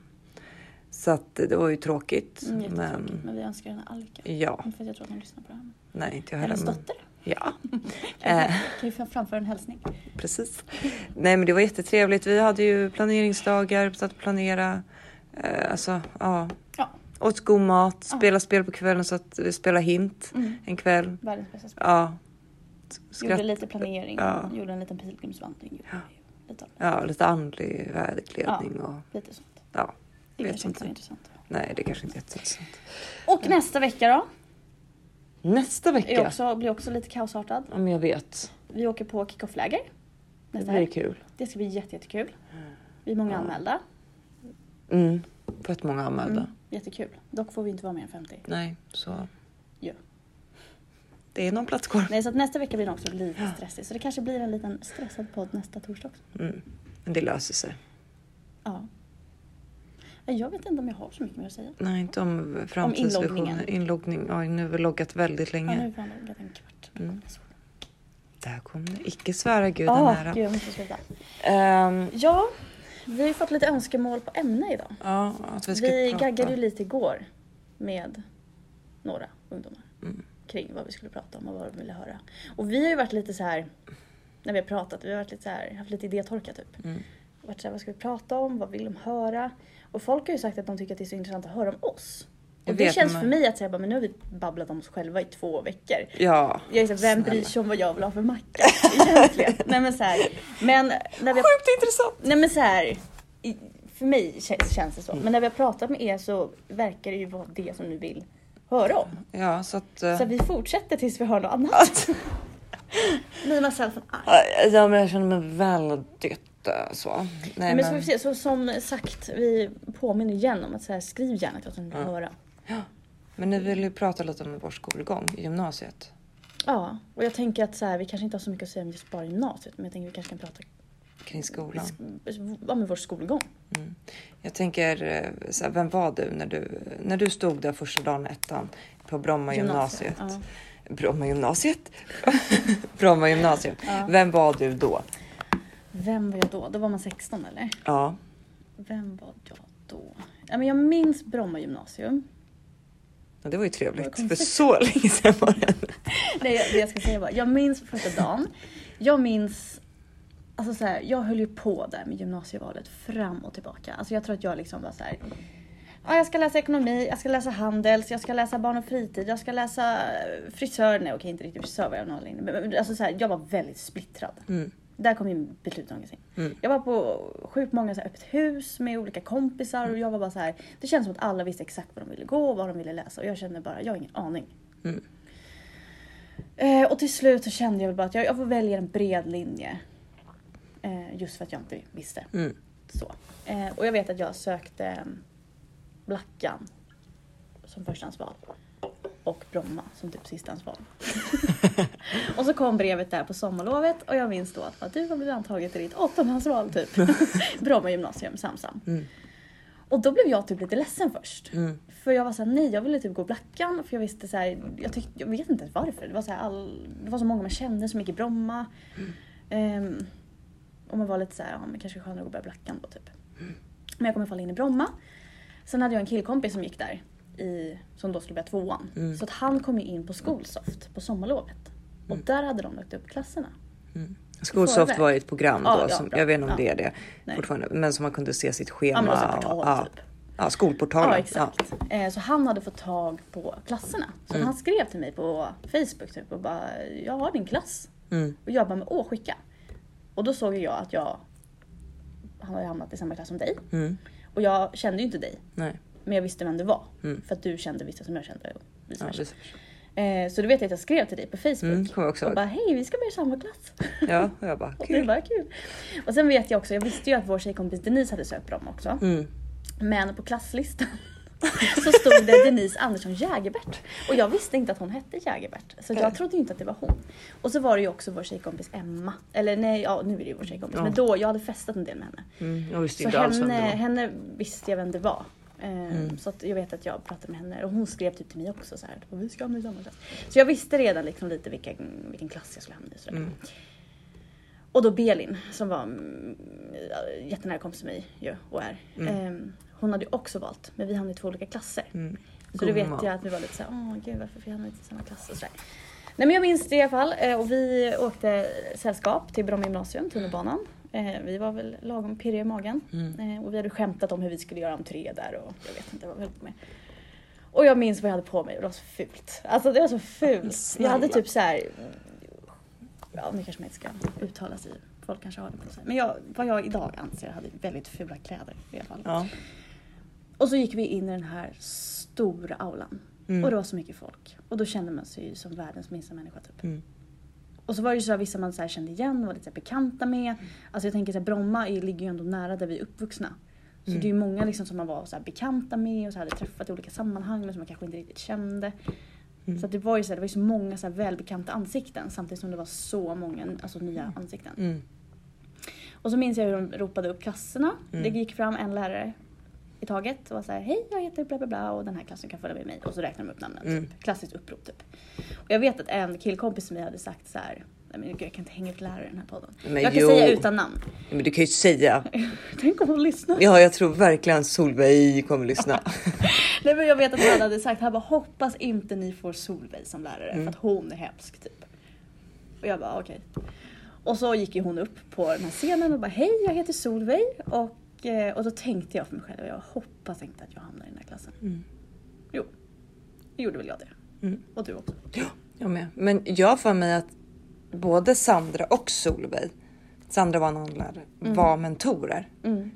Speaker 1: så att det var ju tråkigt.
Speaker 2: Mm, jättetråkigt, men...
Speaker 1: men
Speaker 2: vi önskar henne all lycka.
Speaker 1: ja,
Speaker 2: Inte för att jag tror att hon lyssnar på det här. men-
Speaker 1: nej, inte jag Äh. heller.
Speaker 2: Hennes
Speaker 1: men-
Speaker 2: dotter
Speaker 1: Ja,
Speaker 2: kan ju fram- framföra en hälsning.
Speaker 1: precis. Nej, men det var jättetrevligt. Vi hade ju planeringsdagar, satt och planera. Eh, alltså, ja.
Speaker 2: Ja.
Speaker 1: Åt god mat,
Speaker 2: Ja.
Speaker 1: spela spel på kvällen så att vi spelade hint
Speaker 2: Mm.
Speaker 1: en kväll.
Speaker 2: Världens bästa spel.
Speaker 1: Ja.
Speaker 2: Gjorde
Speaker 1: Skratt,
Speaker 2: lite planering,
Speaker 1: Ja.
Speaker 2: gjorde en liten pilgrimsvandring. gjorde
Speaker 1: Ja.
Speaker 2: ju Lite, av det.
Speaker 1: ja, lite andlig vägledning och
Speaker 2: lite sånt.
Speaker 1: ja.
Speaker 2: Det
Speaker 1: Vet
Speaker 2: kanske inte är
Speaker 1: inte.
Speaker 2: så intressant.
Speaker 1: Nej, det kanske inte är jätteintressant.
Speaker 2: Och nästa vecka då?
Speaker 1: Nästa
Speaker 2: Är
Speaker 1: vecka,
Speaker 2: också, blir också lite kaosartad.
Speaker 1: om jag vet,
Speaker 2: Vi åker på kick-off-läger.
Speaker 1: det
Speaker 2: Nästa
Speaker 1: blir
Speaker 2: helg.
Speaker 1: kul.
Speaker 2: Det ska bli jätte, jättekul. Vi är många
Speaker 1: Ja.
Speaker 2: anmälda.
Speaker 1: Mm. Fett många anmälda.
Speaker 2: Mm, jättekul. Dock får vi inte vara mer än 50.
Speaker 1: Nej, så.
Speaker 2: Ja.
Speaker 1: Det är någon plats kvar.
Speaker 2: Nej, så att nästa vecka blir den också lite stressig. Så det kanske blir en liten stressad podd nästa torsdag också.
Speaker 1: Mm. Men det löser sig.
Speaker 2: Ja. Ja, Jag vet inte om jag har så mycket mer att säga.
Speaker 1: Nej, inte om framtidsvisioner.
Speaker 2: inloggningen.
Speaker 1: Inloggning. Ja, nu har vi loggat väldigt
Speaker 2: Ja, nu
Speaker 1: länge.
Speaker 2: har vi förhandlat en kvart.
Speaker 1: Mm. Där kom det. Icke svära guden
Speaker 2: Ja,
Speaker 1: nära.
Speaker 2: gud jag måste sluta.
Speaker 1: Ehm,
Speaker 2: Ja, vi har ju fått lite önskemål på ämne idag.
Speaker 1: ja, att vi ska
Speaker 2: Vi
Speaker 1: prata.
Speaker 2: gaggade ju lite igår med några ungdomar
Speaker 1: Mm.
Speaker 2: kring vad vi skulle prata om och vad de ville höra. Och vi har ju varit lite så här när vi har pratat, vi har varit lite så här, haft lite idétorka typ.
Speaker 1: Mm.
Speaker 2: Varit så här, vad ska vi prata om? Vad vill de höra? Och folk har ju sagt att de tycker att det är så intressant att höra om oss.
Speaker 1: Jag
Speaker 2: Och det
Speaker 1: vet,
Speaker 2: känns
Speaker 1: men-
Speaker 2: för mig att säga, bara, men nu har vi babblat om oss själva i två veckor.
Speaker 1: Ja.
Speaker 2: Jag är så här, vem bryr
Speaker 1: snälla.
Speaker 2: sig om vad jag vill ha för macka egentligen? Nej men så här, men när vi har
Speaker 1: Sjukt intressant.
Speaker 2: Nej men så här, i- för mig kä- känns det så. Men när vi har pratat med er så verkar det ju vara det som ni vill höra om.
Speaker 1: Ja, så att... eh,
Speaker 2: Så vi fortsätter tills vi hör något annat. Nina Selfen Ark.
Speaker 1: Ja, men jag känner mig väldigt eh, så. Nej,
Speaker 2: Men så får vi se, så som sagt, vi påminner igen om att så här, skriv gärna till oss om ni vill
Speaker 1: Ja.
Speaker 2: höra.
Speaker 1: Men ni vill ju prata lite om vår skolgång i gymnasiet.
Speaker 2: Ja, och jag tänker att så här, vi kanske inte har så mycket att säga om just bara gymnasiet, men jag tänker att vi kanske kan prata
Speaker 1: Kring skolan.
Speaker 2: sk- om vår skolgång.
Speaker 1: Jag tänker, eh, så här, vem var du när, du när du stod där första dagen i ettan på Bromma gymnasiet? Bromma gymnasiet? Bromma gymnasium.
Speaker 2: Ja.
Speaker 1: Vem var du då?
Speaker 2: Vem var jag då? Då var man 16 eller?
Speaker 1: Ja,
Speaker 2: Vem var jag då? Ja, men jag minns Bromma gymnasium.
Speaker 1: Ja, det var ju
Speaker 2: Vad
Speaker 1: trevligt. För
Speaker 2: konstigt.
Speaker 1: så länge sedan var det.
Speaker 2: Nej, det jag ska säga var, jag minns första dagen. Jag minns, alltså så här, jag höll ju på där med gymnasievalet fram och tillbaka. Alltså jag tror att jag liksom var så här. Ja, jag ska läsa ekonomi, jag ska läsa handels, jag ska läsa barn och fritid, jag ska läsa eh, frisör. Nej okej, inte riktigt frisör var jag någon längre. Men men alltså så här, jag var väldigt splittrad.
Speaker 1: Mm.
Speaker 2: Där kom min beslutsångest in.
Speaker 1: Mm.
Speaker 2: Jag var på sjukt många så här öppet hus med olika kompisar och jag var bara så här. Det kändes som att alla visste exakt vad de ville gå och vad de ville läsa och jag kände bara, jag har ingen aning.
Speaker 1: Mm.
Speaker 2: Eh, och till slut så kände jag väl bara att jag, jag får välja en bred linje. Eh, just för att jag inte visste.
Speaker 1: Mm.
Speaker 2: Så. Eh, och jag vet att jag sökte eh, Blackan som förstahandsval. Och Bromma som typ sistahandsval. och så kom brevet där på sommarlovet och jag minns då att bara, du har blivit antagen till ditt åttondehandsval typ. Bromma gymnasium, Samsam.
Speaker 1: Mm.
Speaker 2: Och då blev jag typ lite ledsen först.
Speaker 1: Mm.
Speaker 2: För jag var såhär, nej jag ville typ gå Blackan för jag visste såhär, jag, tyck- jag vet inte ens varför. Det var, såhär all, det var så många man kände som gick i Bromma. Ehm, och man var lite såhär, ja men kanske skönare att gå Blackan då typ. Men jag kom i alla fall in i Bromma. Sen hade jag en killkompis som gick där, i, som då skulle börja tvåan.
Speaker 1: Mm.
Speaker 2: Så att han kom ju in på Skolsoft på sommarlovet. Och
Speaker 1: Mm.
Speaker 2: där hade de lagt upp klasserna.
Speaker 1: Skolsoft
Speaker 2: Förväg.
Speaker 1: var ju ett program då,
Speaker 2: Ja, ja,
Speaker 1: som,
Speaker 2: bra.
Speaker 1: jag vet inte om
Speaker 2: Ja.
Speaker 1: det är det
Speaker 2: Nej.
Speaker 1: fortfarande, men som man kunde se sitt schema.
Speaker 2: Ja men alltså
Speaker 1: och-
Speaker 2: portal
Speaker 1: ja.
Speaker 2: typ.
Speaker 1: ja, skolportalen.
Speaker 2: Ja exakt. Eh, Så han hade fått tag på klasserna. Så
Speaker 1: Mm.
Speaker 2: han skrev till mig på Facebook typ och bara, jag har din klass.
Speaker 1: Ja. Mm.
Speaker 2: Och jag bara, men åh skicka. Och då såg ju jag att jag, han har ju hamnat i samma klass som dig.
Speaker 1: Mm.
Speaker 2: Och jag kände ju inte dig,
Speaker 1: Nej.
Speaker 2: men jag visste vem du var.
Speaker 1: Mm.
Speaker 2: För att du kände vissa som jag kände och vice
Speaker 1: Ja,
Speaker 2: versa.
Speaker 1: det,
Speaker 2: Eh, Så du vet jag att jag skrev till dig på Facebook.
Speaker 1: mm, kommer jag också
Speaker 2: Och
Speaker 1: ihåg.
Speaker 2: bara, hej vi ska börja i samma klass.
Speaker 1: Ja, och jag bara,
Speaker 2: Och det
Speaker 1: kul.
Speaker 2: var kul. Och sen vet jag också, jag visste ju att vår tjejkompis Denise hade sökt Bromma också.
Speaker 1: Mm.
Speaker 2: Men på klasslistan så stod det Denise Andersson Jägerbert. Och jag visste inte att hon hette Jägerbert. Så
Speaker 1: Mm.
Speaker 2: jag trodde ju inte att det var hon. Och så var det ju också vår tjejkompis Emma. Eller nej, ja nu är det ju vår tjejkompis.
Speaker 1: Ja.
Speaker 2: Men då, jag hade festat en del med henne.
Speaker 1: Mm, jag visste
Speaker 2: Så
Speaker 1: inte alls vem
Speaker 2: henne,
Speaker 1: det var. Mm.
Speaker 2: henne visste jag vem det var. Ehm, Så att jag vet att jag pratade med henne och hon skrev typ till mig också så här, "Och vi ska hamna i samma klass. Så jag visste redan liksom lite vilken, vilken klass jag skulle hamna i. och
Speaker 1: Mm.
Speaker 2: sådär. Och då Belin som var mm, jättenära kompis till mig ju, och är.
Speaker 1: Mm.
Speaker 2: ehm, hon hade ju också valt men vi hamnade i två olika klasser. Så då vet
Speaker 1: Gumman.
Speaker 2: jag att vi var lite såhär, åh gud varför vi hamnade inte i samma klass och sådär. Nej men jag minns det i alla fall eh, och vi åkte sällskap till Bromma gymnasium, tunnelbanan. Eh, Vi var väl lagom pirriga i magen
Speaker 1: Mm.
Speaker 2: Eh, och vi hade skämtat om hur vi skulle göra entré där och jag vet inte vad vi höll på med. Och jag minns vad jag hade på mig och det var så fult. Alltså det var så fult. Jag
Speaker 1: Snälla.
Speaker 2: hade typ så här. Ja nu kanske man inte ska uttala sig. Folk kanske har det på sig. Men jag, vad jag idag anser hade väldigt fula kläder i alla fall.
Speaker 1: Ja.
Speaker 2: Och så gick vi in i den här stora aulan.
Speaker 1: Mm.
Speaker 2: Och det var så mycket folk. Och då kände man sig ju som världens minsta människa typ.
Speaker 1: Mm.
Speaker 2: Och så var det ju så här, vissa man så här kände igen, var lite så här bekanta med.
Speaker 1: Mm.
Speaker 2: Alltså jag tänker så här, Bromma är- ligger ju ändå nära där vi är uppvuxna. Så
Speaker 1: Mm.
Speaker 2: det är ju många liksom som man var så här bekanta med och så hade träffat i olika sammanhang men som man kanske inte riktigt kände.
Speaker 1: Mm.
Speaker 2: Så att det var ju så, här, det var ju så många så här välbekanta ansikten samtidigt som det var så många alltså, nya ansikten.
Speaker 1: Mm.
Speaker 2: Och så minns jag hur de ropade upp klasserna.
Speaker 1: Mm.
Speaker 2: Det gick fram en lärare i taget och var så här, hej jag heter bla bla bla och den här klassen kan följa med mig. Och så räknade de upp namnen.
Speaker 1: Mm.
Speaker 2: Typ. Klassiskt upprop typ. Och jag vet att en killkompis till mig hade sagt så här, nej men gud jag kan inte hänga ut lärare i den här podden.
Speaker 1: Men
Speaker 2: jag kan
Speaker 1: jo.
Speaker 2: säga utan namn.
Speaker 1: Men du kan ju säga.
Speaker 2: Tänk om hon lyssnar.
Speaker 1: Ja, jag tror verkligen Solveig kommer lyssna.
Speaker 2: Nej men jag vet att han hade sagt, han bara hoppas inte ni får Solveig som lärare
Speaker 1: Mm.
Speaker 2: för att hon är hemsk typ. Och jag bara okej. Och så gick ju hon upp på den här scenen och bara hej jag heter Solveig och, eh, och då tänkte jag för mig själv, jag hoppas inte att jag hamnar i den här klassen.
Speaker 1: Mm.
Speaker 2: Jo, det gjorde väl jag det. Och du också.
Speaker 1: Jag med. Men jag har för mig att både Sandra och Solveig, Sandra var en annan lärare, var mentorer.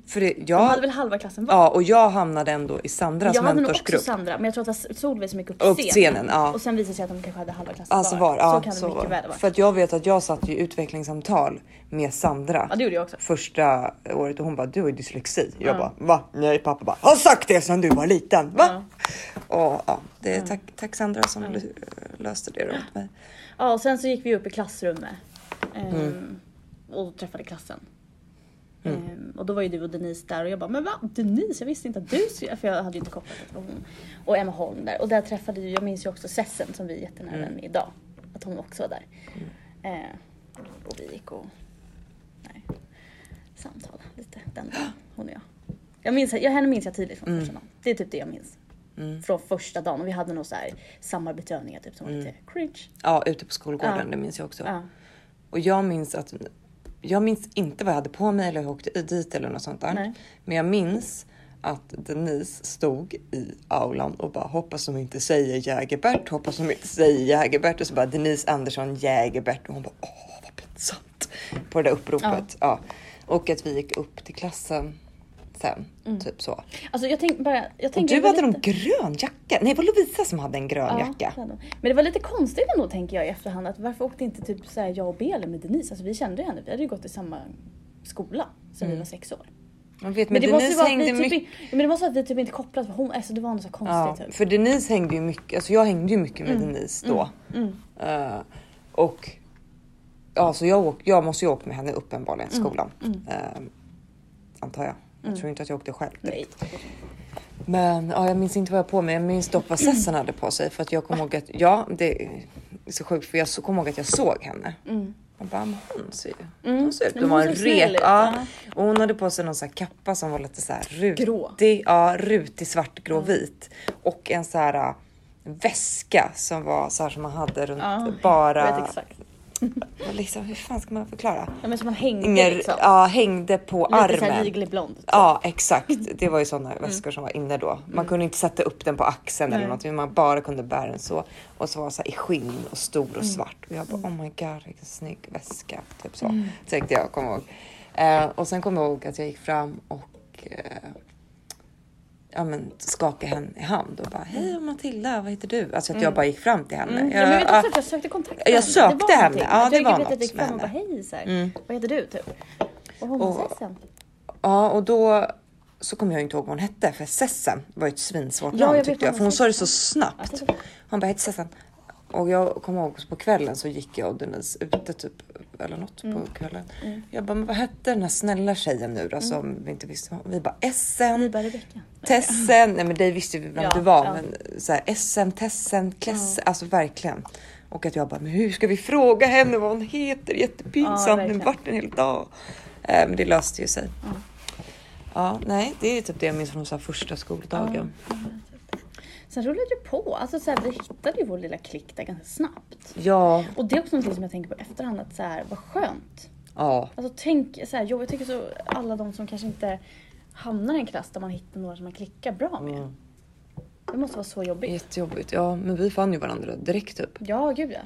Speaker 1: För det,
Speaker 2: Mm. De hade
Speaker 1: jag,
Speaker 2: väl halva klassen var?
Speaker 1: ja, och jag hamnade ändå i Sandras
Speaker 2: jag hade nog också
Speaker 1: mentorsgrupp.
Speaker 2: Sandra men jag tror att Solveig som gick upp
Speaker 1: Upp
Speaker 2: på
Speaker 1: scenen, ja.
Speaker 2: Och sen visade det sig att de kanske hade halva klassen
Speaker 1: Alltså var, ja,
Speaker 2: så kan det
Speaker 1: så
Speaker 2: mycket
Speaker 1: var.
Speaker 2: väl vara.
Speaker 1: För att jag vet att jag satt i utvecklingssamtal med Sandra.
Speaker 2: Ja det gjorde jag också.
Speaker 1: första året och hon bara du har ju dyslexi. Jag bara va? Nej pappa bara har sagt det sedan du var liten. Va? Och, ja, det är tack, tack Sandra som lö- löste det då åt mig.
Speaker 2: Ja, och sen så gick vi upp i klassrummet. ehm, Och träffade klassen. Ehm, och då var ju du och Denise där och jag bara, men va? Denise? Jag visste inte att du skulle... För jag hade ju inte kopplat att det var hon. Och Emma Holm där. Och där träffade ju, jag minns ju också Sessen som vi är jättenära vän med idag. Att hon också var där. Eh, och vi gick och nej, samtalade lite den dagen, hon och jag. jag minns, jag, henne minns jag tidigt från första dagen. Det är typ det jag minns. Från första dagen. Och vi hade nog så här samarbetsövningar typ som var lite cringe.
Speaker 1: Ja, ute på skolgården,
Speaker 2: Ja.
Speaker 1: det minns jag också.
Speaker 2: Ja.
Speaker 1: Och jag minns att jag minns inte vad jag hade på mig eller hur jag åkte dit eller något sånt där.
Speaker 2: Nej.
Speaker 1: Men jag minns att Denise stod i aulan och bara hoppas de inte säger Jägerbert, hoppas de inte säger Jägerbert och så bara Denise Andersson Jägerbert och hon bara åh vad pinsamt på det där uppropet. Ja. Och att vi gick upp till klassen sen, typ så.
Speaker 2: Alltså jag tänkte bara... Jag
Speaker 1: Och
Speaker 2: tänker
Speaker 1: du
Speaker 2: det var
Speaker 1: hade
Speaker 2: lite-
Speaker 1: någon grön jacka, nej det var Lovisa som hade en grön
Speaker 2: Ja,
Speaker 1: jacka.
Speaker 2: det hade hon. Men det var lite konstigt ändå tänker jag i efterhand att varför åkte inte typ så här jag och Belin med Denise? Alltså vi kände ju henne, vi hade ju gått i samma skola sedan vi var sex år.
Speaker 1: Jag vet, Mm. men,
Speaker 2: Men det, måste ju
Speaker 1: Denise
Speaker 2: vara att
Speaker 1: hängde
Speaker 2: vi
Speaker 1: mycket
Speaker 2: typ, in- ja, men det måste vara att vi typ inte kopplade för hon, alltså det var något så här
Speaker 1: Ja,
Speaker 2: konstigt typ. Mm.
Speaker 1: för Denise hängde ju mycket, alltså jag hängde ju mycket med Denise då. Eh, och ja, så jag, åk, jag måste ju ha åkt med henne uppenbarligen till
Speaker 2: Mm.
Speaker 1: skolan. Eh, antar jag. Jag tror inte att jag åkte själv.
Speaker 2: Nej.
Speaker 1: Men ja, jag minns inte vad jag hade på mig. Jag minns dock vad Sessan hade på sig för att jag kommer ihåg att, ja det är så sjukt för jag så- kommer ihåg att jag såg henne. Jag bara, men hon ser ju, hon ser ut att
Speaker 2: Mm. Men hon
Speaker 1: vara en
Speaker 2: såg snäll
Speaker 1: rek.
Speaker 2: ut,
Speaker 1: Ja.
Speaker 2: ja.
Speaker 1: Och hon hade på sig någon så här kappa som var lite så här rutig.
Speaker 2: Grå.
Speaker 1: Ja, rutig svart, grå, vit. Och en så här äh, väska som var så här som man hade runt
Speaker 2: Ja, Jag vet
Speaker 1: bara.
Speaker 2: exakt.
Speaker 1: Och liksom, hur fan ska man förklara?
Speaker 2: Ja, men som man hängde
Speaker 1: Inger,
Speaker 2: liksom.
Speaker 1: ja, hängde på
Speaker 2: Lite så här
Speaker 1: armen.
Speaker 2: viglig blond.
Speaker 1: Ja exakt, det var ju sådana väskor som var inne då. Man kunde inte sätta upp den på axeln eller
Speaker 2: Nej.
Speaker 1: något, men man bara kunde bära den så. Och så var det så här i skinn och stor
Speaker 2: Mm.
Speaker 1: och svart. Och jag bara oh my god vilken snygg väska. Typ så
Speaker 2: Mm.
Speaker 1: tänkte jag, kommer ihåg. Eh, och sen kommer jag ihåg att jag gick fram och eh, ja, men, skakade henne i hand och bara hej Matilda, vad heter du? Alltså att jag bara gick fram till henne.
Speaker 2: Mm. Ja, men jag vet också
Speaker 1: ja,
Speaker 2: att jag sökte kontakt med
Speaker 1: Jag sökte
Speaker 2: Det var
Speaker 1: henne.
Speaker 2: någonting.
Speaker 1: Ja,
Speaker 2: Att
Speaker 1: det
Speaker 2: jag
Speaker 1: var
Speaker 2: vet
Speaker 1: något
Speaker 2: att
Speaker 1: Mm.
Speaker 2: Jag gick fram och
Speaker 1: med
Speaker 2: bara
Speaker 1: henne.
Speaker 2: hej så här. vad heter du typ? Och hon bara
Speaker 1: Och-
Speaker 2: Sessen.
Speaker 1: ja, och då så kommer jag inte ihåg vad hon hette för Sessen var ju ett svinsvårt
Speaker 2: Ja, jag
Speaker 1: namn
Speaker 2: vet
Speaker 1: tyckte
Speaker 2: vad
Speaker 1: jag
Speaker 2: hon
Speaker 1: för hon sa det så
Speaker 2: heter. Ja,
Speaker 1: snabbt.
Speaker 2: jag tycker det.
Speaker 1: Hon bara hette Sessen. Och jag kommer ihåg på kvällen så gick jag och Denise ute typ eller något
Speaker 2: Mm.
Speaker 1: på kvällen. Jag bara, men vad hette den här snälla tjejen nu då
Speaker 2: Mm.
Speaker 1: som vi inte visste vad Vi bara Essen.
Speaker 2: Vi bara Rebecka.
Speaker 1: Tessen, nej men det visste vi vem
Speaker 2: Ja,
Speaker 1: det var,
Speaker 2: ja.
Speaker 1: men så här, SM, Tessen, Klesse, alltså verkligen. Och att jag bara, men hur ska vi fråga henne vad hon heter?
Speaker 2: Ja,
Speaker 1: Jättepinsamt,
Speaker 2: verkligen.
Speaker 1: men vart en hel dag. Eh, Men det löste ju sig.
Speaker 2: Ja.
Speaker 1: Ja, nej, det är typ det jag minns från så här första skoldagen.
Speaker 2: Sen rullade det på. Alltså så här, vi hittade ju vår lilla klick där ganska snabbt.
Speaker 1: Ja,
Speaker 2: Och det är också någonting som jag tänker på i efterhand att så här, vad skönt.
Speaker 1: ja,
Speaker 2: Alltså tänk så här, jo, jag tycker så alla de som kanske inte hamnar i en klass där man hittar några som man klickar bra med.
Speaker 1: Mm.
Speaker 2: Det måste vara så jobbigt.
Speaker 1: jättejobbigt. Ja, men vi fann ju varandra direkt typ.
Speaker 2: Ja, gud ja.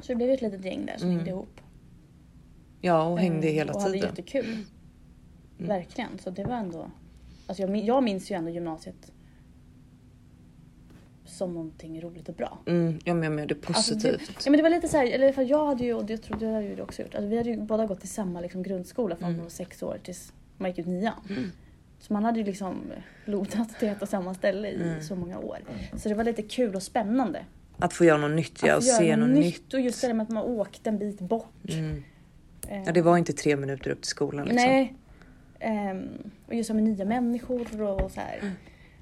Speaker 2: Så det blev ju ett litet gäng där som hängde ihop.
Speaker 1: Ja, Mm. och hängde
Speaker 2: Mm,
Speaker 1: hela
Speaker 2: och hade
Speaker 1: tiden.
Speaker 2: jättekul. Verkligen. Så det var ändå... Alltså jag, min- jag minns ju ändå gymnasiet som någonting roligt och bra.
Speaker 1: Mm, ja, men jag menar det
Speaker 2: Alltså det,
Speaker 1: positivt.
Speaker 2: ja, men det var lite så här, eller i alla fall jag hade ju, och det trodde jag hade ju du också gjort, alltså vi hade ju båda gått i samma liksom, grundskola från mm. sex år tills man gick ut nian.
Speaker 1: Mm.
Speaker 2: Så man hade ju liksom lodat till ett och samma ställe i så många år. Så det var lite kul och spännande.
Speaker 1: Mm. Att få göra något nytt, ja, och
Speaker 2: Att göra
Speaker 1: se något nytt. Mm.
Speaker 2: Och just det där med att man åkte en bit bort. Eh,
Speaker 1: Ja, det var inte tre minuter upp till skolan liksom.
Speaker 2: Nej. Ehm, och just med nya människor och så
Speaker 1: Mm.
Speaker 2: här.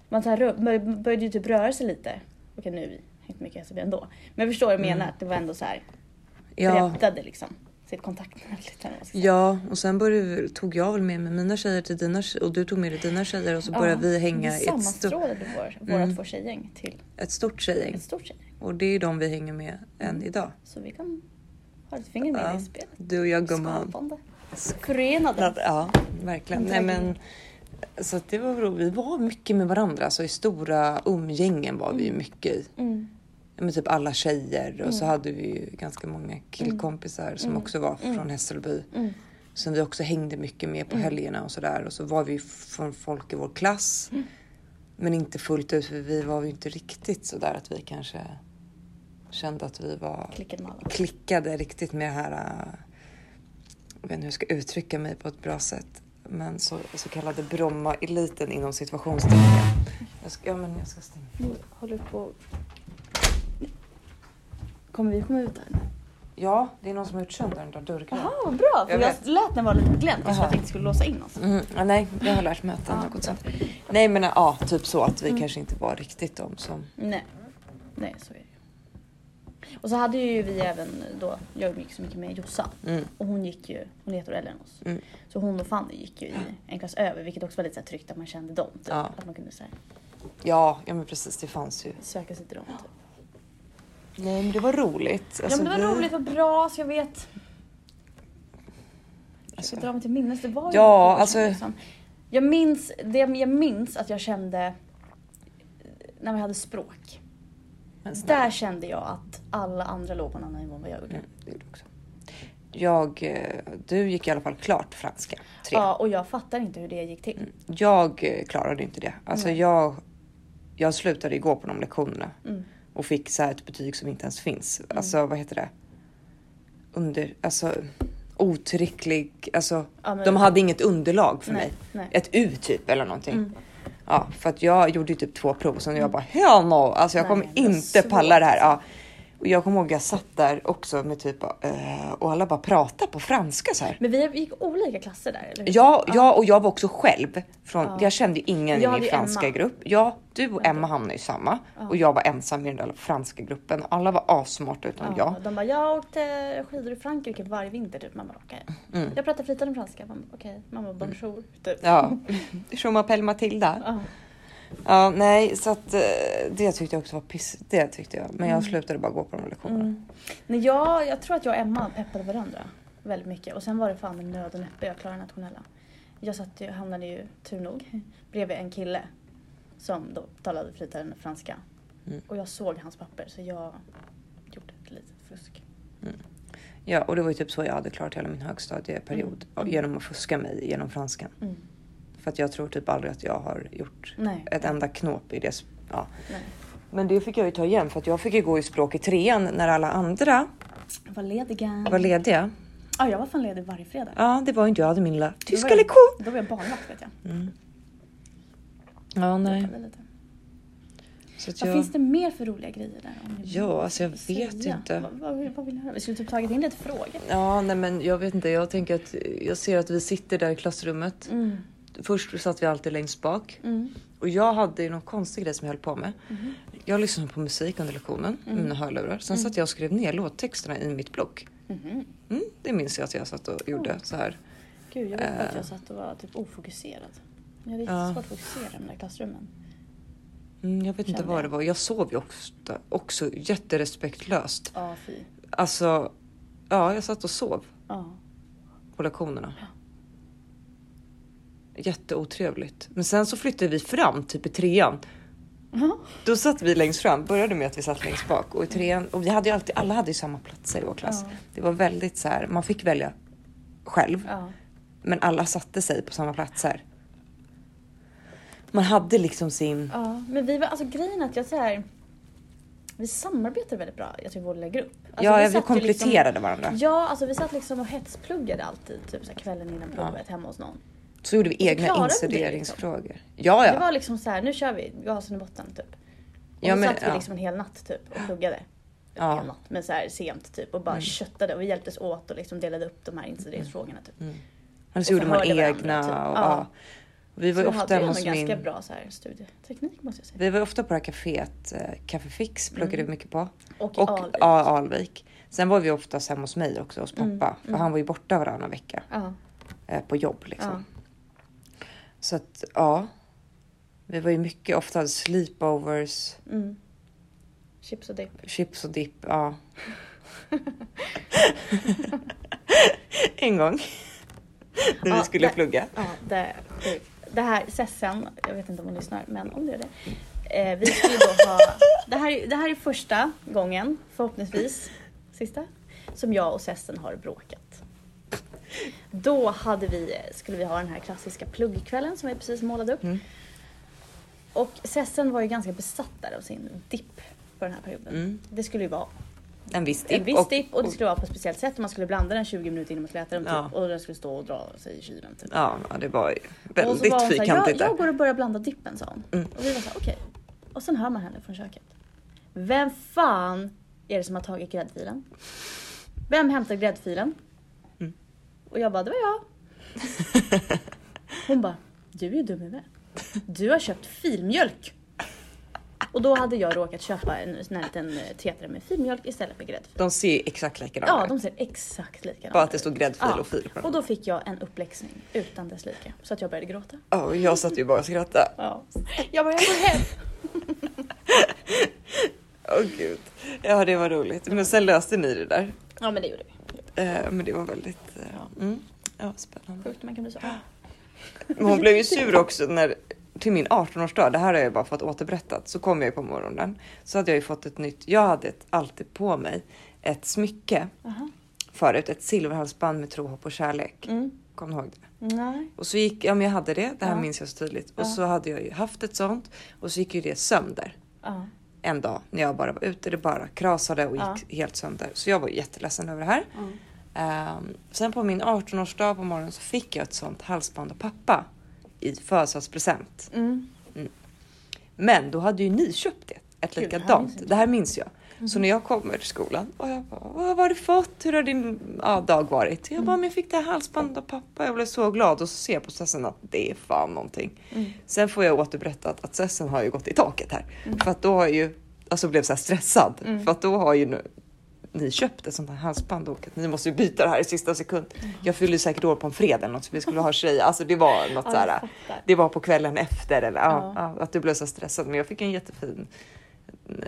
Speaker 2: Man så här, rö- bör- började ju typ röra sig lite. Okej nu är vi inte mycket SEB ändå. Men jag förstår vad du menar,
Speaker 1: Mm.
Speaker 2: att det var ändå så här
Speaker 1: ja.
Speaker 2: breddade liksom sitt kontaktnät lite. eller vad man ska säga.
Speaker 1: Ja, och sen började, tog jag väl med mig mina tjejer till dina tje- och du tog med dig dina tjejer och så började vi hänga i ett, sto-
Speaker 2: sammanstrålade vår, våra två tjejgäng till
Speaker 1: ett stort tjejgäng.
Speaker 2: ett stort tjejgäng.
Speaker 1: Och det är ju de vi hänger med än idag.
Speaker 2: Så vi kan ha ett finger med
Speaker 1: Ja.
Speaker 2: i spelet.
Speaker 1: Du och jag gumman.
Speaker 2: Skapande. Förenade.
Speaker 1: Ja, verkligen. Nej, men, så att det var roligt. Vi var mycket med varandra, så i stora umgängen var vi ju mycket i.
Speaker 2: Mm.
Speaker 1: Ja, men typ alla tjejer och så hade vi ju ganska många killkompisar som
Speaker 2: Mm.
Speaker 1: också var från Hässelby. Som vi också hängde mycket med på
Speaker 2: Mm.
Speaker 1: helgerna och sådär. Och så var vi ju från folk i vår klass.
Speaker 2: Mm.
Speaker 1: Men inte fullt ut, för vi var ju inte riktigt sådär att vi kanske kände att vi var
Speaker 2: Klickade med alla.
Speaker 1: klickade riktigt med det här, äh, jag vet inte hur jag ska uttrycka mig på ett bra sätt, men så, så kallade Bromma-eliten inom situationstecken. Jag ska, ja, men jag ska stänga.
Speaker 2: Nu håller du på Kommer vi komma ut här nu?
Speaker 1: Ja, det är någon som har gjort sönder den där dörrgrejen.
Speaker 2: Jaha, vad bra! För
Speaker 1: Jag
Speaker 2: jag,
Speaker 1: vet.
Speaker 2: lät den vara lite på glänt så
Speaker 1: Jaha.
Speaker 2: jag tänkte skulle låsa in oss.
Speaker 1: Mm, ja, nej, jag har lärt mig att den har gått sönder. Nej, men ja, typ så att vi kanske inte var riktigt de som...
Speaker 2: Nej. Nej, så är det ju. Och så hade ju vi även då, jag gick så mycket med Jossan.
Speaker 1: Mm.
Speaker 2: Och hon gick ju, hon heter äldre än oss.
Speaker 1: Mm.
Speaker 2: Så hon och Fanny gick ju i en klass över vilket också var lite så här tryggt att man kände dem. Typ.
Speaker 1: Ja.
Speaker 2: Att man kunde så här,
Speaker 1: Ja, ja, men precis, det fanns ju.
Speaker 2: söka sig till dem. Typ.
Speaker 1: Nej, men det var roligt. Alltså,
Speaker 2: ja men det var
Speaker 1: vi-
Speaker 2: roligt och bra så jag vet. Jag
Speaker 1: Alltså-
Speaker 2: ska dra mig till minnes. Det var ju
Speaker 1: Ja,
Speaker 2: något år
Speaker 1: alltså-
Speaker 2: sedan, liksom. jag, minns, det, jag minns att jag kände när vi hade språk.
Speaker 1: Men snälla.
Speaker 2: Där kände jag att alla andra låg på en annan nivå än vad jag gjorde.
Speaker 1: Mm, det gjorde jag också. Jag, eh, du gick i alla fall klart franska. Tre.
Speaker 2: Ja, och jag fattar inte hur det gick till.
Speaker 1: Jag eh, klarade inte det. Alltså jag, jag slutade igår på de lektionerna
Speaker 2: Mm,
Speaker 1: och fick så här ett betyg som inte ens finns. Alltså vad heter det? Under, alltså otillräcklig, alltså
Speaker 2: Ja, men-
Speaker 1: de hade inget underlag för
Speaker 2: Nej, Mm.
Speaker 1: mig.
Speaker 2: nej.
Speaker 1: Ett U typ eller någonting. Ja, för att jag gjorde ju typ två prov och sen jag bara hell no, alltså jag
Speaker 2: Mm. Nej,
Speaker 1: kommer
Speaker 2: det var
Speaker 1: inte
Speaker 2: svårt.
Speaker 1: palla det här. Ja. Och jag kommer ihåg jag satt där också med typ eh, och alla bara pratade på franska så här.
Speaker 2: Men vi gick olika klasser där, eller hur?
Speaker 1: Ja, ja, och jag var också själv. Från,
Speaker 2: Ja.
Speaker 1: Jag kände ju ingen
Speaker 2: Jag
Speaker 1: i
Speaker 2: hade
Speaker 1: min
Speaker 2: ju
Speaker 1: franska
Speaker 2: Emma.
Speaker 1: grupp. Ja, du och Emma hamnade i samma och jag var ensam i den där franska gruppen. Alla var assmarta utom jag.
Speaker 2: De bara, jag åkte skidor i Frankrike varje vinter typ. Man bara, okej. Jag pratar flytande franska. Man bara, okej. Man bara, bonjour.
Speaker 1: Mm.
Speaker 2: Typ.
Speaker 1: Ja, Schumapel Matilda.
Speaker 2: Ja.
Speaker 1: Ja, nej, så att eh, det tyckte jag också var piss. Det tyckte jag, men
Speaker 2: Mm.
Speaker 1: jag slutade bara gå på de lektionerna.
Speaker 2: Nej, Mm. jag, jag tror att jag och Emma peppade varandra väldigt mycket. Och sen var det fan med nöd och näppe jag klarade nationella. Jag satt ju, hamnade ju, tur nog, bredvid en kille som då talade flytande franska.
Speaker 1: Mm.
Speaker 2: Och jag såg hans papper så jag gjorde ett litet fusk.
Speaker 1: Ja, och det var ju typ så jag hade klarat hela min högstadieperiod
Speaker 2: Mm.
Speaker 1: genom att fuska mig genom franskan. För att jag tror typ aldrig att jag har gjort
Speaker 2: Nej.
Speaker 1: ett enda knåp i det. sp- Ja.
Speaker 2: Nej.
Speaker 1: Men det fick jag ju ta igen för att jag fick ju gå i språk i trean när alla andra
Speaker 2: Jag var lediga.
Speaker 1: var lediga.
Speaker 2: Ja, jag var fan ledig varje fredag.
Speaker 1: Ja, det var ju inte jag hade min lilla
Speaker 2: Då var
Speaker 1: tyska
Speaker 2: jag-
Speaker 1: lektion.
Speaker 2: Då var jag barnvakt vet jag.
Speaker 1: Ja, nej.
Speaker 2: droppade lite.
Speaker 1: Så att
Speaker 2: Vad
Speaker 1: jag...
Speaker 2: finns det mer för roliga grejer där? Om ni vill
Speaker 1: Ja, alltså jag
Speaker 2: säga?
Speaker 1: vet inte.
Speaker 2: Vad, vad, vill- vad vill ni höra? Vi skulle typ tagit in lite frågor.
Speaker 1: Ja, nej men jag vet inte. Jag tänker att jag ser att vi sitter där i klassrummet.
Speaker 2: Mm.
Speaker 1: Först satt vi alltid längst bak.
Speaker 2: Mm.
Speaker 1: Och jag hade ju någon konstig grej som jag höll på med. Jag lyssnade på musik under lektionen
Speaker 2: Mm.
Speaker 1: med mina hörlurar. Sen satt jag och skrev ner låttexterna i mitt block.
Speaker 2: Mm-hmm.
Speaker 1: Mm, det minns jag att jag satt
Speaker 2: Mm.
Speaker 1: och gjorde så här.
Speaker 2: Gud, jag vet bara att jag satt och var typ ofokuserad. Jag hade
Speaker 1: Eh. Ja.
Speaker 2: jättesvårt att fokusera i de där klassrummen.
Speaker 1: Mm, jag vet inte
Speaker 2: Kände
Speaker 1: vad
Speaker 2: jag.
Speaker 1: det var. Jag sov ju också, också jätterespektlöst.
Speaker 2: Ja, fy.
Speaker 1: Alltså, ja, jag satt och sov
Speaker 2: Ja.
Speaker 1: på lektionerna. Jätteotrevligt. Men sen så flyttade vi fram, typ i trean.
Speaker 2: Ja.
Speaker 1: Då satt vi längst fram, började med att vi satt längst bak och i trean, och vi hade ju alltid, alla hade ju samma platser i vår klass.
Speaker 2: Ja.
Speaker 1: Det var väldigt så här, man fick välja själv,
Speaker 2: ja.
Speaker 1: men alla satte sig på samma platser. Man hade liksom sin,
Speaker 2: Ja, men vi var, alltså grejen är att jag så här, vi samarbetade väldigt bra, jag tycker vår lilla grupp. Alltså,
Speaker 1: ja vi,
Speaker 2: satt ju
Speaker 1: kompletterade varandra.
Speaker 2: Liksom, ja, alltså vi satt liksom och hetspluggade alltid, typ så här, kvällen innan provet hemma hos någon.
Speaker 1: Så gjorde vi
Speaker 2: så
Speaker 1: egna
Speaker 2: klarade vi det
Speaker 1: instuderingsfrågor. Ja, ja.
Speaker 2: Det var liksom så här, nu kör vi gasen i botten typ. Och
Speaker 1: Ja,
Speaker 2: så
Speaker 1: men-
Speaker 2: satt vi
Speaker 1: ja.
Speaker 2: liksom en hel natt typ och pluggade.
Speaker 1: Ja. Mm.
Speaker 2: En hel natt, men så här sent typ och bara köttade och vi hjälptes åt och liksom delade upp de här incidensfrågorna typ.
Speaker 1: Men så
Speaker 2: och
Speaker 1: gjorde man
Speaker 2: förhörde varandra,
Speaker 1: egna.
Speaker 2: typ.
Speaker 1: och,
Speaker 2: Ja.
Speaker 1: ja. Vi var
Speaker 2: Så
Speaker 1: ju
Speaker 2: vi hade
Speaker 1: ofta
Speaker 2: ju
Speaker 1: hemma
Speaker 2: ändå
Speaker 1: hos
Speaker 2: ganska
Speaker 1: min...
Speaker 2: bra så här, studieteknik måste jag säga.
Speaker 1: Vi var ju ofta på det här kaféet, eh, Café Fix pluggade vi mycket på.
Speaker 2: Och,
Speaker 1: Och
Speaker 2: Mm. Alvik.
Speaker 1: ja, Alvik. Sen var vi oftast hemma hos mig också, hos pappa.
Speaker 2: Mm,
Speaker 1: För han var ju borta varannan vecka
Speaker 2: Ja.
Speaker 1: eh, på jobb liksom.
Speaker 2: Ja.
Speaker 1: Så att ja. Vi var ju mycket ofta sleepovers,
Speaker 2: Mm. Chips och dipp.
Speaker 1: chips och dipp. Ja. en gång. När vi
Speaker 2: Ja,
Speaker 1: skulle
Speaker 2: där-
Speaker 1: plugga.
Speaker 2: Ja, det är sjukt. Det här, Sessen, jag vet inte om hon lyssnar, men om du gör det. Eh, vi skulle då ha, det, här, är- det här är första gången, förhoppningsvis sista, som jag och Sessen har bråkat. Då hade vi, skulle vi ha den här klassiska pluggkvällen som vi precis målade upp. Och Sessen var ju ganska besatt där av sin dipp på den här perioden. Det skulle ju vara
Speaker 1: En viss dipp.
Speaker 2: en viss dipp och det skulle vara på ett speciellt sätt. och Man skulle blanda den 20 minuter innan man skulle äta den typ,
Speaker 1: Ja.
Speaker 2: och den skulle stå och dra sig i kylen. Typ.
Speaker 1: Ja, ja, det var ju
Speaker 2: Och så var
Speaker 1: väldigt
Speaker 2: hon så här,
Speaker 1: fyrkantigt
Speaker 2: jag,
Speaker 1: där. Mm.
Speaker 2: jag går och börjar blanda dippen sa hon. Och vi var såhär, okej. Och sen hör man henne från köket. Vem fan är det som har tagit gräddfilen? Vem hämtar gräddfilen?
Speaker 1: Mm.
Speaker 2: Och jag bara, det var jag. Hon bara, du är ju dum i huvudet. Du har köpt filmjölk. Och då hade jag råkat köpa en sån här liten eh, tetra med filmjölk istället för gräddfil.
Speaker 1: De ser ju exakt likadana
Speaker 2: Ja,
Speaker 1: ut.
Speaker 2: de ser exakt likadana
Speaker 1: Bara att det
Speaker 2: ut.
Speaker 1: stod gräddfil och fil på dem.
Speaker 2: Och då fick jag en uppläxning utan dess like. Så att jag började gråta.
Speaker 1: Ja, och jag satt ju bara och skrattade.
Speaker 2: Ja. Jag bara, jag går hem.
Speaker 1: Åh gud. Ja, det var roligt. Men sen löste ni det där.
Speaker 2: Ja men det gjorde vi.
Speaker 1: Eh, Men det var väldigt eh, mm, ja, spännande.
Speaker 2: Sjukt man kan bli så arg.
Speaker 1: Men hon blev ju sur också när till min 18-årsdag, det här har jag bara fått återberättat, så kom jag ju på morgonen. Så hade jag ju fått ett nytt, jag hade ett, alltid på mig ett smycke
Speaker 2: Aha.
Speaker 1: förut, ett silverhalsband med tro, hopp och kärlek.
Speaker 2: Mm.
Speaker 1: Kommer du ihåg det?
Speaker 2: Nej.
Speaker 1: Och så gick, ja men jag hade det, det här
Speaker 2: Ja.
Speaker 1: minns jag så tydligt.
Speaker 2: Ja.
Speaker 1: Och så hade jag ju haft ett sånt och så gick ju det sönder
Speaker 2: Ja.
Speaker 1: en dag när jag bara var ute. Det bara krasade och
Speaker 2: Ja.
Speaker 1: gick helt sönder. Så jag var jätteledsen över det här. Ehm, sen på min 18-årsdag på morgonen så fick jag ett sånt halsband av pappa i födelsedagspresent.
Speaker 2: Mm.
Speaker 1: Men då hade ju ni köpt det, ett
Speaker 2: Gud, det här
Speaker 1: likadant.
Speaker 2: minns
Speaker 1: Det
Speaker 2: jag
Speaker 1: här,
Speaker 2: inte. Mhm.
Speaker 1: minns jag. Så när jag kommer till skolan och jag bara, vad har du fått? Hur har din ja, dag varit? Jag bara,
Speaker 2: Mm.
Speaker 1: men jag fick det här halsbandet av pappa. Jag blev så glad och så ser jag på Sessen att det är fan någonting.
Speaker 2: Mm.
Speaker 1: Sen får jag återberättat att Sessen har ju gått i taket här
Speaker 2: Mm.
Speaker 1: för att då har jag ju, alltså blev så här stressad för att då har ju nu ni köpt ett sånt här halsband och att ni måste ju byta det här i sista sekund. Jag fyllde ju säkert år på en fredag eller något så vi skulle ha tjej, alltså det var något
Speaker 2: Ja,
Speaker 1: så här.
Speaker 2: jag fattar.
Speaker 1: Det var på kvällen efter eller ja.
Speaker 2: Ja.
Speaker 1: ja, att du blev så stressad. Men jag fick en jättefin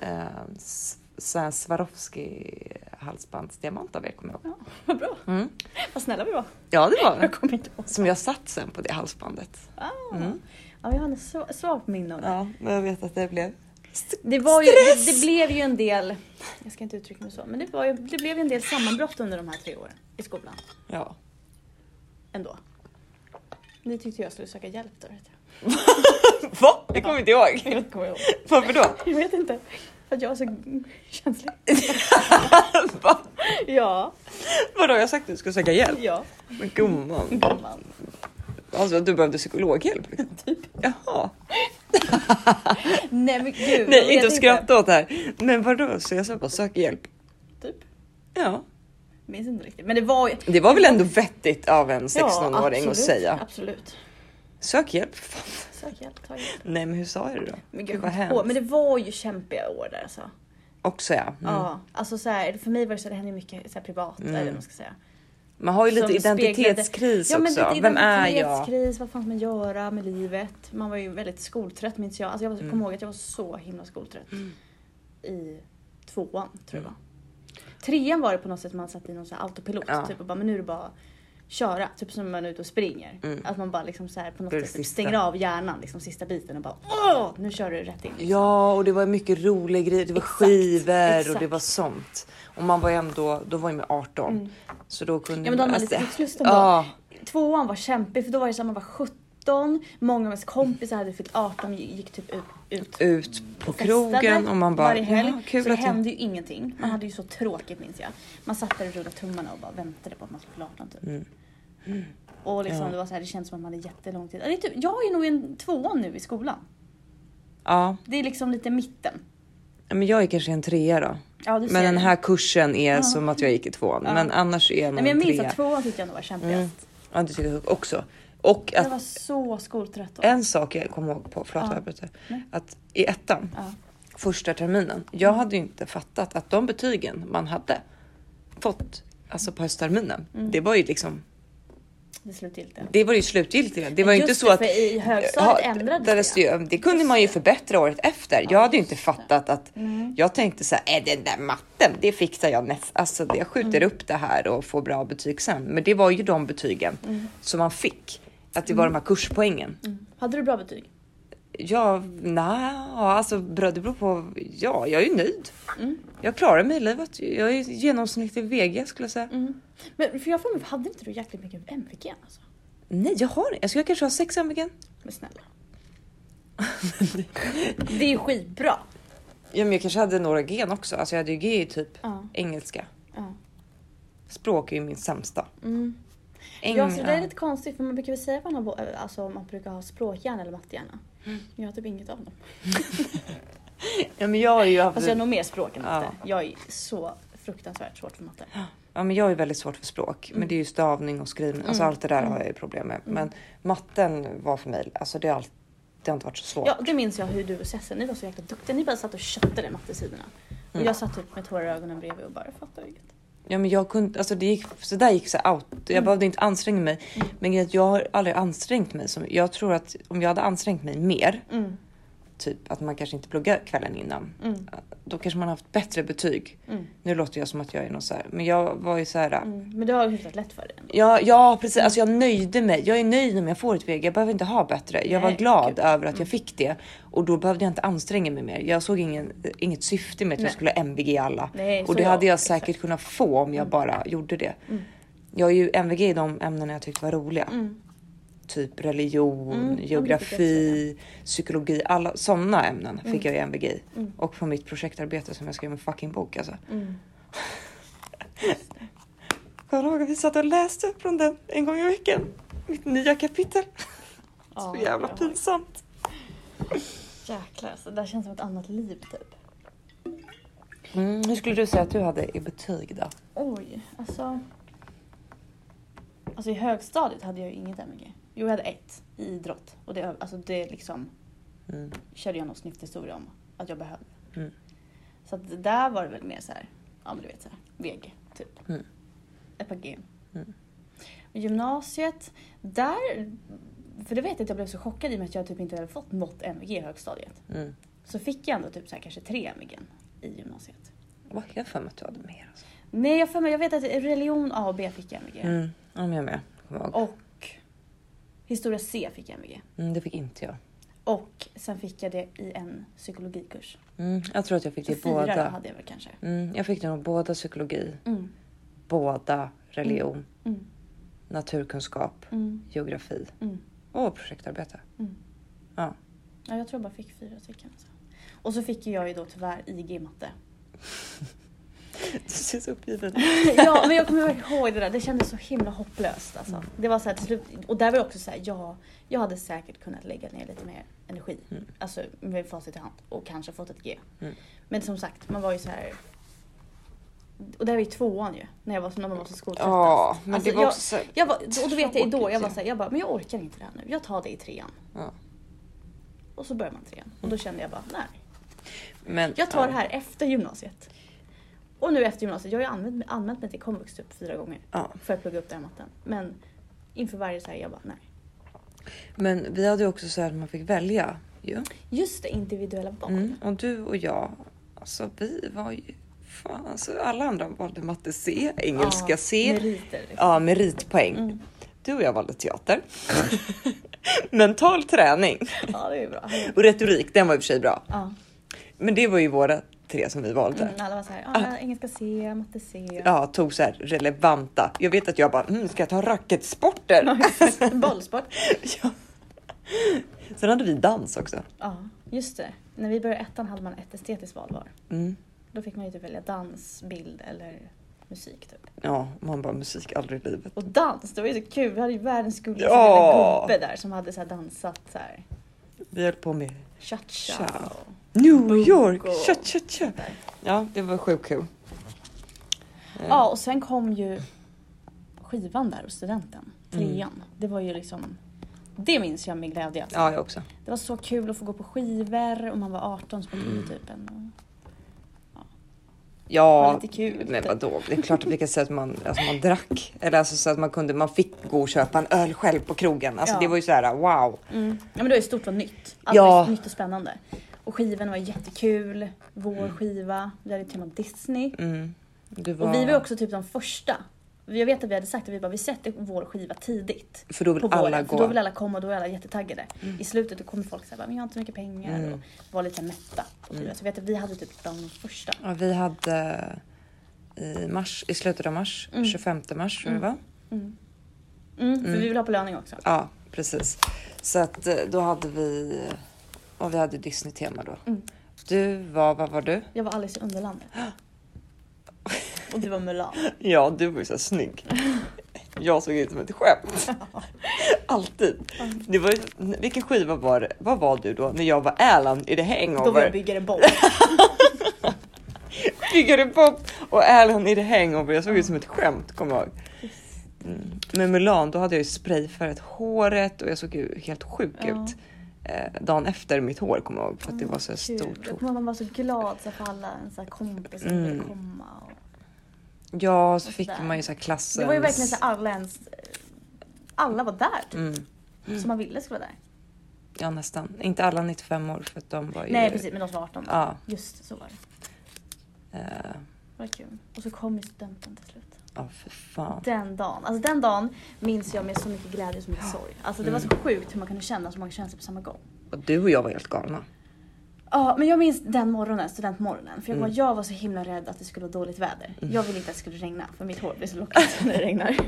Speaker 1: eh, s- så här Swarovski halsbandsdiamant av er kommer jag ihåg.
Speaker 2: Ja, vad bra.
Speaker 1: Mm.
Speaker 2: Vad snälla vi var.
Speaker 1: Ja det var
Speaker 2: Jag
Speaker 1: det.
Speaker 2: kommer inte ihåg.
Speaker 1: Som jag satt sen på det halsbandet.
Speaker 2: Ah. Ja, jag har en sv- svag minne av det.
Speaker 1: Ja, men jag vet att det blev.
Speaker 2: Det, var ju, det, det blev ju en del, jag ska inte uttrycka mig så, men det, var ju, det blev ju en del sammanbrott under de här tre åren i skolan.
Speaker 1: Ja.
Speaker 2: Ändå. Ni tyckte jag skulle söka hjälp då vet jag.
Speaker 1: Va? Det kommer inte jag ihåg.
Speaker 2: Jag kommer ihåg.
Speaker 1: Varför då?
Speaker 2: Jag vet inte. För att jag var så känslig.
Speaker 1: Va?
Speaker 2: Ja,
Speaker 1: Vadå? Jag har sagt att du ska söka hjälp.
Speaker 2: ja.
Speaker 1: Men gumman.
Speaker 2: Gumman.
Speaker 1: Alltså du behövde psykologhjälp? Typ. Jaha.
Speaker 2: Nej men gud. jag
Speaker 1: Nej,
Speaker 2: vet
Speaker 1: inte att skratta åt det här. Men vadå? Så jag sa bara sök hjälp.
Speaker 2: Typ.
Speaker 1: Ja,
Speaker 2: Minns inte riktigt. Men det var ju...
Speaker 1: det var väl ändå vettigt av en 16-åring
Speaker 2: absolut,
Speaker 1: att säga.
Speaker 2: Absolut.
Speaker 1: Sök hjälp. Fan.
Speaker 2: Sök hjälp, ta hjälp.
Speaker 1: Nej, men hur sa jag det då?
Speaker 2: Men gud,
Speaker 1: vad
Speaker 2: jag kom inte på.
Speaker 1: hemskt.
Speaker 2: Men det var ju kämpiga år där alltså.
Speaker 1: Också ja. Mm.
Speaker 2: Ja, alltså så här, för mig var det så här, det hände mycket så här privat eller vad man ska säga.
Speaker 1: Man har ju lite
Speaker 2: Som speglade-
Speaker 1: identitetskris
Speaker 2: ja, men
Speaker 1: också.
Speaker 2: Lite
Speaker 1: Vem är jag?
Speaker 2: identitetskris, vad fan ska man göra med livet? Man var ju väldigt skoltrött minns jag. Alltså jag
Speaker 1: Mm.
Speaker 2: kommer ihåg att jag var så himla skoltrött. I tvåan tror jag
Speaker 1: Mm.
Speaker 2: var. Trean var det på något sätt man satt i någon så här autopilot
Speaker 1: Ja.
Speaker 2: typ och bara men nu är det bara att köra. Typ som när man är ute och springer. Att man bara liksom så här på något
Speaker 1: Mm. Det är
Speaker 2: sätt
Speaker 1: det
Speaker 2: typ
Speaker 1: sista.
Speaker 2: stänger av hjärnan liksom sista biten och bara åh nu kör du rätt in.
Speaker 1: Ja, och det var mycket roliga grejer. Det var
Speaker 2: Exakt,
Speaker 1: skivor och det
Speaker 2: exakt.
Speaker 1: var sånt. Och man var ju ändå, då var ju med 18. Så då kunde
Speaker 2: Mm. Ja men då hade man
Speaker 1: alltså-
Speaker 2: lite tidslusten
Speaker 1: Ja.
Speaker 2: då. Tvåan var kämpig för då var det så här, man var 17, många av ens kompisar hade fyllt 18 gick typ ut. ut
Speaker 1: Ut på
Speaker 2: festade
Speaker 1: krogen och man bara,
Speaker 2: varje helg.
Speaker 1: ja, kul
Speaker 2: så det
Speaker 1: att jag... Mm.
Speaker 2: hände ju ingenting. Man hade ju så tråkigt minns jag. Man satt där och rullade tummarna och bara väntade på att man skulle bli 18 typ. Och liksom
Speaker 1: Mm. Ja.
Speaker 2: det var så här, det kändes som att man hade jättelång tid. Det är typ, jag är nog en tvåa nu i skolan.
Speaker 1: Ja,
Speaker 2: Det är liksom lite mitten.
Speaker 1: men jag är kanske en trea då.
Speaker 2: Ja, du ser
Speaker 1: Men den
Speaker 2: det.
Speaker 1: här kursen är som att jag gick i tvåan. Men annars är man
Speaker 2: Nej, men jag
Speaker 1: en
Speaker 2: minns
Speaker 1: trea.
Speaker 2: att tvåan tyckte jag nog var kämpigast.
Speaker 1: Ja, det tycker jag också. Och
Speaker 2: Jag
Speaker 1: att
Speaker 2: var så skoltrött då.
Speaker 1: en sak jag kom ihåg på, förlåt
Speaker 2: Ja.
Speaker 1: ja. att i ettan,
Speaker 2: Ja. Mm.
Speaker 1: första terminen, jag hade ju inte fattat att de betygen man hade fått alltså på höstterminen,
Speaker 2: Mm.
Speaker 1: det var ju liksom,
Speaker 2: Det slutgiltiga.
Speaker 1: det var ju slutgiltiga. Det var ju
Speaker 2: Just
Speaker 1: inte så
Speaker 2: det,
Speaker 1: att
Speaker 2: för i högstadiet ändrades
Speaker 1: ändrades
Speaker 2: det.
Speaker 1: Eh, det. ju. Det kunde man ju förbättra året efter. Jag hade ju inte fattat att jag tänkte så här, "Äh, den där matten, det fixar jag näst. Alltså jag skjuter upp det här och får bra betyg sen. Men det var ju de betygen som man fick. Att det var de här kurspoängen.
Speaker 2: Hade du bra betyg?
Speaker 1: Ja, nej, alltså bra, det beror på. Ja, jag är ju nöjd. Jag klarar mig i livet. Jag är genomsnittlig VG skulle jag säga.
Speaker 2: Men för jag får mig, hade inte du jäkligt mycket MVG alltså?
Speaker 1: Nej, jag har jag skulle kanske ha sex MVG.
Speaker 2: Men snälla. det är ju skitbra.
Speaker 1: Ja, men jag kanske hade några gen också. Alltså jag hade ju G i typ
Speaker 2: Ja.
Speaker 1: engelska.
Speaker 2: Ja.
Speaker 1: Språk är ju min sämsta. Eng-
Speaker 2: Mm. Ja, så det är lite konstigt för man brukar väl säga att man, har, bo- alltså, man brukar ha språkhjärna eller mattehjärna. Jag har typ inget av dem.
Speaker 1: ja, men jag är ju
Speaker 2: Alltså jag har nog mer språk än
Speaker 1: Ja.
Speaker 2: matte. Jag är så fruktansvärt svårt för matte.
Speaker 1: ja, men jag är väldigt svårt för språk,
Speaker 2: Mm.
Speaker 1: men det är ju stavning och skrivning. Alltså allt det där har jag ju problem med. Men matten var för mig, alltså det har, allt- det har inte varit så svårt.
Speaker 2: Ja, det minns jag hur du och Cessen, ni var så jäkla duktiga. Ni bara satt och köttade mattesidorna. Och
Speaker 1: Mm.
Speaker 2: jag satt typ med tårar i ögonen bredvid och bara fattar inget.
Speaker 1: Ja, men jag kunde, alltså det gick, så där gick så out. Jag
Speaker 2: Mm.
Speaker 1: behövde inte anstränga mig. Men grejen är att jag har aldrig ansträngt mig. Så jag tror att om jag hade ansträngt mig mer,
Speaker 2: Mm.
Speaker 1: typ att man kanske inte pluggar kvällen innan,
Speaker 2: Mm.
Speaker 1: då kanske man haft bättre betyg.
Speaker 2: Mm.
Speaker 1: Nu låter jag som att jag är någon så här, men jag var ju så här.
Speaker 2: Mm. Men du har ju hyfsat lätt för det ändå.
Speaker 1: Ja, ja precis. Alltså jag nöjde mig. Jag är nöjd om jag får ett VG. Jag behöver inte ha bättre. Jag var
Speaker 2: Nej,
Speaker 1: glad
Speaker 2: gud. Mm.
Speaker 1: över att jag fick det och då behövde jag inte anstränga mig mer. Jag såg ingen, inget syfte med att
Speaker 2: Nej.
Speaker 1: jag skulle ha MVG i alla
Speaker 2: Nej, Eh, så
Speaker 1: och det
Speaker 2: jag-
Speaker 1: hade jag
Speaker 2: exakt. Mm.
Speaker 1: säkert kunnat få om jag bara gjorde det. Jag är ju MVG i de ämnena jag tyckte var roliga.
Speaker 2: Mm.
Speaker 1: Typ religion,
Speaker 2: Mm, ja, men det
Speaker 1: geografi, psykologi. Alla sådana ämnen
Speaker 2: Mm.
Speaker 1: fick jag ju MVG i. Och på mitt projektarbete som jag skrev en fucking bok alltså.
Speaker 2: Mm.
Speaker 1: Kommer du ihåg att vi satt och läste från den en gång i veckan? Mitt nya kapitel.
Speaker 2: Ja,
Speaker 1: Så jävla
Speaker 2: jag-
Speaker 1: pinsamt.
Speaker 2: Jäklar, så det där känns som ett annat liv typ.
Speaker 1: Mm, hur skulle du säga att du hade i betyg då?
Speaker 2: Oj, alltså. Alltså i högstadiet hade jag ju inget MVG. Jo, jag hade ett i idrott. Och det, alltså det liksom
Speaker 1: Mm.
Speaker 2: körde jag någon snyfthistoria om att jag behövde.
Speaker 1: Mm.
Speaker 2: Så att det där var det väl mer så här, ja men du vet så här, VG typ.
Speaker 1: Mm.
Speaker 2: Ett par G.
Speaker 1: Mm.
Speaker 2: Och Gymnasiet, där, för det vet jag att jag blev så chockad i och med att jag typ inte hade fått något MVG i högstadiet.
Speaker 1: Mm.
Speaker 2: Så fick jag ändå typ så här kanske tre MVG i gymnasiet.
Speaker 1: Vad jag har för mig att du hade mer. Alltså.
Speaker 2: Nej, jag, för mig, jag vet att religion A och B fick jag MVG.
Speaker 1: Mm, ja, men jag med. Kommer ihåg.
Speaker 2: Och historia C fick jag MVG.
Speaker 1: Mm, det fick inte jag.
Speaker 2: Och sen fick jag det i en psykologikurs.
Speaker 1: Mm, jag tror att jag fick
Speaker 2: Så
Speaker 1: det i
Speaker 2: fyra då
Speaker 1: båda.
Speaker 2: hade jag väl kanske.
Speaker 1: Mm, jag fick det nog båda psykologi,
Speaker 2: Mm,
Speaker 1: båda religion,
Speaker 2: mm,
Speaker 1: naturkunskap,
Speaker 2: mm,
Speaker 1: geografi
Speaker 2: mm.
Speaker 1: och projektarbete.
Speaker 2: Mm.
Speaker 1: Ja.
Speaker 2: Ja, jag tror jag bara fick fyra stycken. Alltså. Och så fick ju jag ju då tyvärr IG i matte.
Speaker 1: Du ser så uppgiven
Speaker 2: ja, men jag kommer verkligen ihåg det där. Det kändes så himla hopplöst. Alltså. Det var så här, till slut, och där var jag också så här, ja, jag hade säkert kunnat lägga ner lite mer energi. Alltså med facit i hand och kanske fått ett G.
Speaker 1: Mm.
Speaker 2: Men som sagt, man var ju så här. Och det här var ju tvåan ju, när jag var när man var så skoltrött.
Speaker 1: Ja, men
Speaker 2: Alltså,
Speaker 1: det var
Speaker 2: jag-
Speaker 1: också så...
Speaker 2: Jag var, och då vet jag ju då, jag var
Speaker 1: Tråkigt,
Speaker 2: såhär, jag bara, men jag orkar inte det här nu. Jag tar det i trean.
Speaker 1: Ja.
Speaker 2: Och så börjar man trean. Och då kände jag bara, nej.
Speaker 1: Men,
Speaker 2: Jag tar
Speaker 1: Mm. ja.
Speaker 2: det här efter gymnasiet. Och nu efter gymnasiet, jag har ju använt, använt mig till komvux typ fyra gånger.
Speaker 1: Ja.
Speaker 2: För att plugga upp den här matten. Men inför varje såhär, jag bara, nej.
Speaker 1: Men vi hade ju också så här att man fick välja ju.
Speaker 2: Just det, individuella val.
Speaker 1: Mm. Och du och jag, alltså vi var ju... Fan, alltså alla andra valde matte C, engelska
Speaker 2: Ja,
Speaker 1: C.
Speaker 2: Meriter. Liksom.
Speaker 1: Ja, meritpoäng.
Speaker 2: Mm.
Speaker 1: Du och jag valde teater. Mental träning
Speaker 2: Ja, det är ju bra.
Speaker 1: och retorik, den var i och för sig bra.
Speaker 2: Ja.
Speaker 1: Men det var ju våra tre som vi valde.
Speaker 2: Mm, alla var såhär,
Speaker 1: Ah.
Speaker 2: ja, engelska C, matte C.
Speaker 1: Ja, tog så här relevanta. Jag vet att jag bara, mm, ska jag ta racketsporter?
Speaker 2: Bollsport.
Speaker 1: ja. Sen hade vi dans också.
Speaker 2: Ja, just det. När vi började ettan hade man ett estetiskt val var.
Speaker 1: Mm.
Speaker 2: Då fick man ju typ välja dans, bild eller musik typ.
Speaker 1: Ja, man bara musik aldrig i livet.
Speaker 2: Och dans, det var ju så kul. Vi hade ju världens gulligaste
Speaker 1: Ja.
Speaker 2: lilla gubbe där som hade så här dansat så här
Speaker 1: Vi höll på med
Speaker 2: cha-cha.
Speaker 1: Cha. New
Speaker 2: Bungo.
Speaker 1: York, tja tja tja.
Speaker 2: och där.
Speaker 1: Ja, det var sjukt kul. Eh,
Speaker 2: Ja, och sen kom ju skivan där och studenten,
Speaker 1: Mm.
Speaker 2: trean. Det var ju liksom, det minns jag med glädje. Alltså.
Speaker 1: Ja, jag också.
Speaker 2: Det var så kul att få gå på skivor och man var 18 så man
Speaker 1: Mm.
Speaker 2: kunde typ en...
Speaker 1: Ja,
Speaker 2: Var lite kul. typ.
Speaker 1: men vadå? Det är klart att vi kan säga att man, alltså man drack. Eller alltså så att man kunde, man fick gå och köpa en öl själv på krogen. Alltså
Speaker 2: Ja.
Speaker 1: det var ju så här, wow.
Speaker 2: Mm. Ja men det var ju stort och nytt. Allt
Speaker 1: Ja.
Speaker 2: var ju nytt och spännande. Och skivorna var jättekul. Vår skiva, vi hade tema Disney.
Speaker 1: Mm. Det var...
Speaker 2: Och vi var ju också typ de första. Jag vet att vi hade sagt att vi bara vi sätter vår skiva tidigt.
Speaker 1: För då vill
Speaker 2: på
Speaker 1: alla
Speaker 2: våren.
Speaker 1: gå.
Speaker 2: För då vill alla komma och då är alla jättetaggade. I slutet då kommer folk säga men jag har inte så mycket pengar
Speaker 1: Mm.
Speaker 2: och var lite mätta. på skivan. Så jag vet att vi hade typ de första.
Speaker 1: Ja, vi hade i mars, i slutet av mars, 25 mars tror jag det var.
Speaker 2: Mm, För vi vill ha belöning också.
Speaker 1: Ja, precis. Så att eh, då hade vi, och vi hade Disney-tema då.
Speaker 2: Mm.
Speaker 1: Du var, vad var du?
Speaker 2: Jag var Alice i Underlandet. Och du var Mulan.
Speaker 1: Ja, du var ju så här snygg. Jag såg ut som ett skämt. Alltid. Det var, ju- vilken skiva var det? Vad var du då när jag var Alan i The
Speaker 2: Då var jag
Speaker 1: Hangover?
Speaker 2: byggare Bob.
Speaker 1: Byggare Bob och Alan i The Hangover. Jag såg ut som ett skämt, kommer jag ihåg. Mm. Men Mulan, då hade jag ju sprayfärgat håret och jag såg ju helt sjuk
Speaker 2: Ja.
Speaker 1: ut. Eh, dagen efter mitt hår kommer jag ihåg för att det var så här
Speaker 2: Kul.
Speaker 1: stort.
Speaker 2: Jag
Speaker 1: hår.
Speaker 2: kommer ihåg att man var så glad så här, för alla ens så här, kompisar som
Speaker 1: Mm.
Speaker 2: ville komma. Och...
Speaker 1: Ja, så
Speaker 2: Och
Speaker 1: fick
Speaker 2: sådär.
Speaker 1: man ju så här klassens...
Speaker 2: Det var ju verkligen så här, alla ens... Alla var där typ,
Speaker 1: Mm.
Speaker 2: som man ville skulle vara där.
Speaker 1: Ja, nästan. Inte alla 95 år för att de var ju...
Speaker 2: Nej precis, men de som var 18.
Speaker 1: Ja.
Speaker 2: Just så var det.
Speaker 1: Eh,
Speaker 2: Det var kul. Och så kom ju studenten till slut.
Speaker 1: Ja, för fan.
Speaker 2: Den dagen, alltså den dagen minns jag med så mycket glädje och så mycket sorg. Alltså
Speaker 1: Mm.
Speaker 2: det var så sjukt hur man kunde känna så många känslor på samma gång.
Speaker 1: Och du och jag var helt galna.
Speaker 2: Ja, men jag minns den morgonen, studentmorgonen. För jag, mm. jag var så himla rädd att det skulle vara dåligt väder. Jag ville inte att det skulle regna, för mitt hår blir så lockigt när det regnar.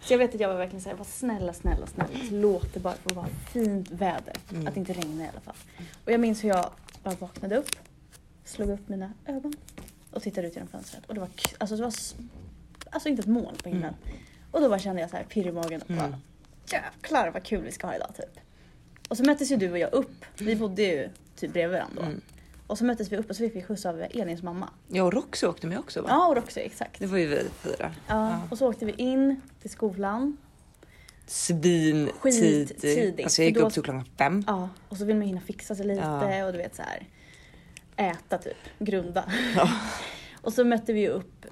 Speaker 2: Så jag vet att jag var verkligen såhär, var snälla, snälla, snälla. Låt det bara få vara fint väder. Att det inte regnar i alla fall. Och jag minns hur jag bara vaknade upp, slog upp mina ögon och tittade ut genom fönstret. Och det var, k- alltså, det var s- alltså inte ett moln på himlen. Och då bara kände jag så här pirr i magen och bara, jäklar vad kul vi ska ha idag typ. Och så möttes ju du och jag upp. Vi bodde ju typ bredvid varandra
Speaker 1: Mm.
Speaker 2: då. Och så möttes vi upp och så fick vi skjuts av Elins mamma.
Speaker 1: Jag och Roxy åkte med också va?
Speaker 2: Ja, och Roxy, exakt.
Speaker 1: Det var ju vi fyra.
Speaker 2: Ja. Och så åkte vi in till skolan.
Speaker 1: Svin
Speaker 2: Skittidigt,
Speaker 1: Alltså jag gick
Speaker 2: för då-
Speaker 1: upp till klockan fem.
Speaker 2: Ja. Och så vill man hinna fixa sig lite
Speaker 1: Ja.
Speaker 2: och du vet så här. Äta typ, grunda. och så mötte vi ju upp, eh,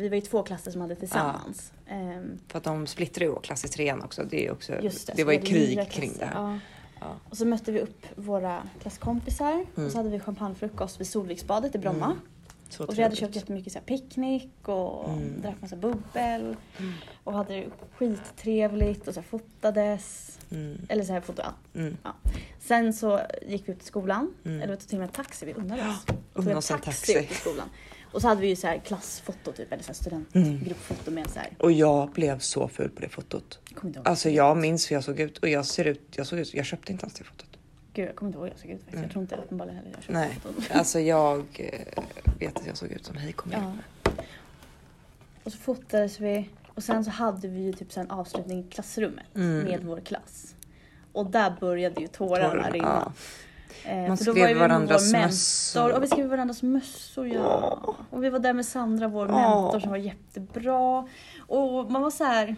Speaker 2: vi var ju två klasser som hade tillsammans. Ehm,
Speaker 1: För att de splittrade ju vår klass i trean också. Det, är också,
Speaker 2: Just det,
Speaker 1: Eh, det,
Speaker 2: så
Speaker 1: var
Speaker 2: vi
Speaker 1: ju
Speaker 2: hade
Speaker 1: krig
Speaker 2: nya
Speaker 1: kring det
Speaker 2: klasser.
Speaker 1: här.
Speaker 2: Ja.
Speaker 1: Ja. Mm.
Speaker 2: Och så mötte vi upp våra klasskompisar och så hade vi champagnefrukost vid Solviksbadet i Bromma.
Speaker 1: Så
Speaker 2: Och vi hade
Speaker 1: trevligt. Mm.
Speaker 2: köpt jättemycket så här picknick och drack massa bubbel. Och hade det skittrevligt och så här fotades.
Speaker 1: Mm,
Speaker 2: Eller så här foto, ja.
Speaker 1: mm.
Speaker 2: ja. Sen så gick vi upp till skolan.
Speaker 1: Mm.
Speaker 2: Eller vi tog till och med en taxi, vi unnade oss. Tog
Speaker 1: unna oss en taxi.
Speaker 2: upp till skolan. Och så hade vi ju så här klassfoto typ, eller så här studentgruppfoto
Speaker 1: Mm.
Speaker 2: med så här,
Speaker 1: Och jag blev så ful på det fotot.
Speaker 2: jag kommer inte ihåg.
Speaker 1: Alltså jag minns hur jag såg ut och jag ser ut, jag såg ut, jag köpte inte ens det fotot.
Speaker 2: Gud, jag kommer inte ihåg hur jag såg ut faktiskt. Jag tror inte uppenbarligen heller jag köpte
Speaker 1: Nej,
Speaker 2: foton.
Speaker 1: alltså jag eh, vet att jag såg ut som hej kom igen.
Speaker 2: Ja. Och så fotades vi. Och sen så hade vi ju typ så en avslutning i klassrummet
Speaker 1: Mm.
Speaker 2: med vår klass. Och där började ju tårarna
Speaker 1: Tårarna,
Speaker 2: rinna. Eh,
Speaker 1: Man
Speaker 2: för då
Speaker 1: skrev
Speaker 2: var ju vi med
Speaker 1: varandras
Speaker 2: vår
Speaker 1: mössor.
Speaker 2: mentor. Och vi skrev varandras mössor ja. Och vi var där med Sandra, vår
Speaker 1: Åh.
Speaker 2: mentor som var jättebra. Och man var så här.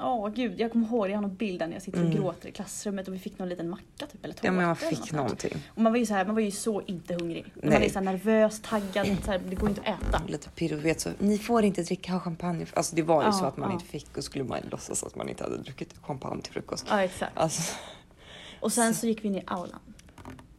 Speaker 2: Åh gud, jag kommer ihåg, jag har någon bild där när jag sitter och
Speaker 1: Mm.
Speaker 2: gråter i klassrummet och vi fick någon liten macka typ eller tårta.
Speaker 1: Ja, men man
Speaker 2: eller något
Speaker 1: fick
Speaker 2: sånt.
Speaker 1: någonting.
Speaker 2: Och man var ju så här, man var ju så inte hungrig. Man
Speaker 1: Nej.
Speaker 2: var ju så här nervös, taggad, så här, det går inte att äta.
Speaker 1: Lite piruett så, ni får inte dricka ha champagne. Alltså det var ju
Speaker 2: Ja,
Speaker 1: så att man
Speaker 2: ja.
Speaker 1: inte fick och skulle man låtsas att man inte hade druckit champagne till frukost.
Speaker 2: Ja exakt.
Speaker 1: Alltså,
Speaker 2: Och sen så gick vi in i aulan.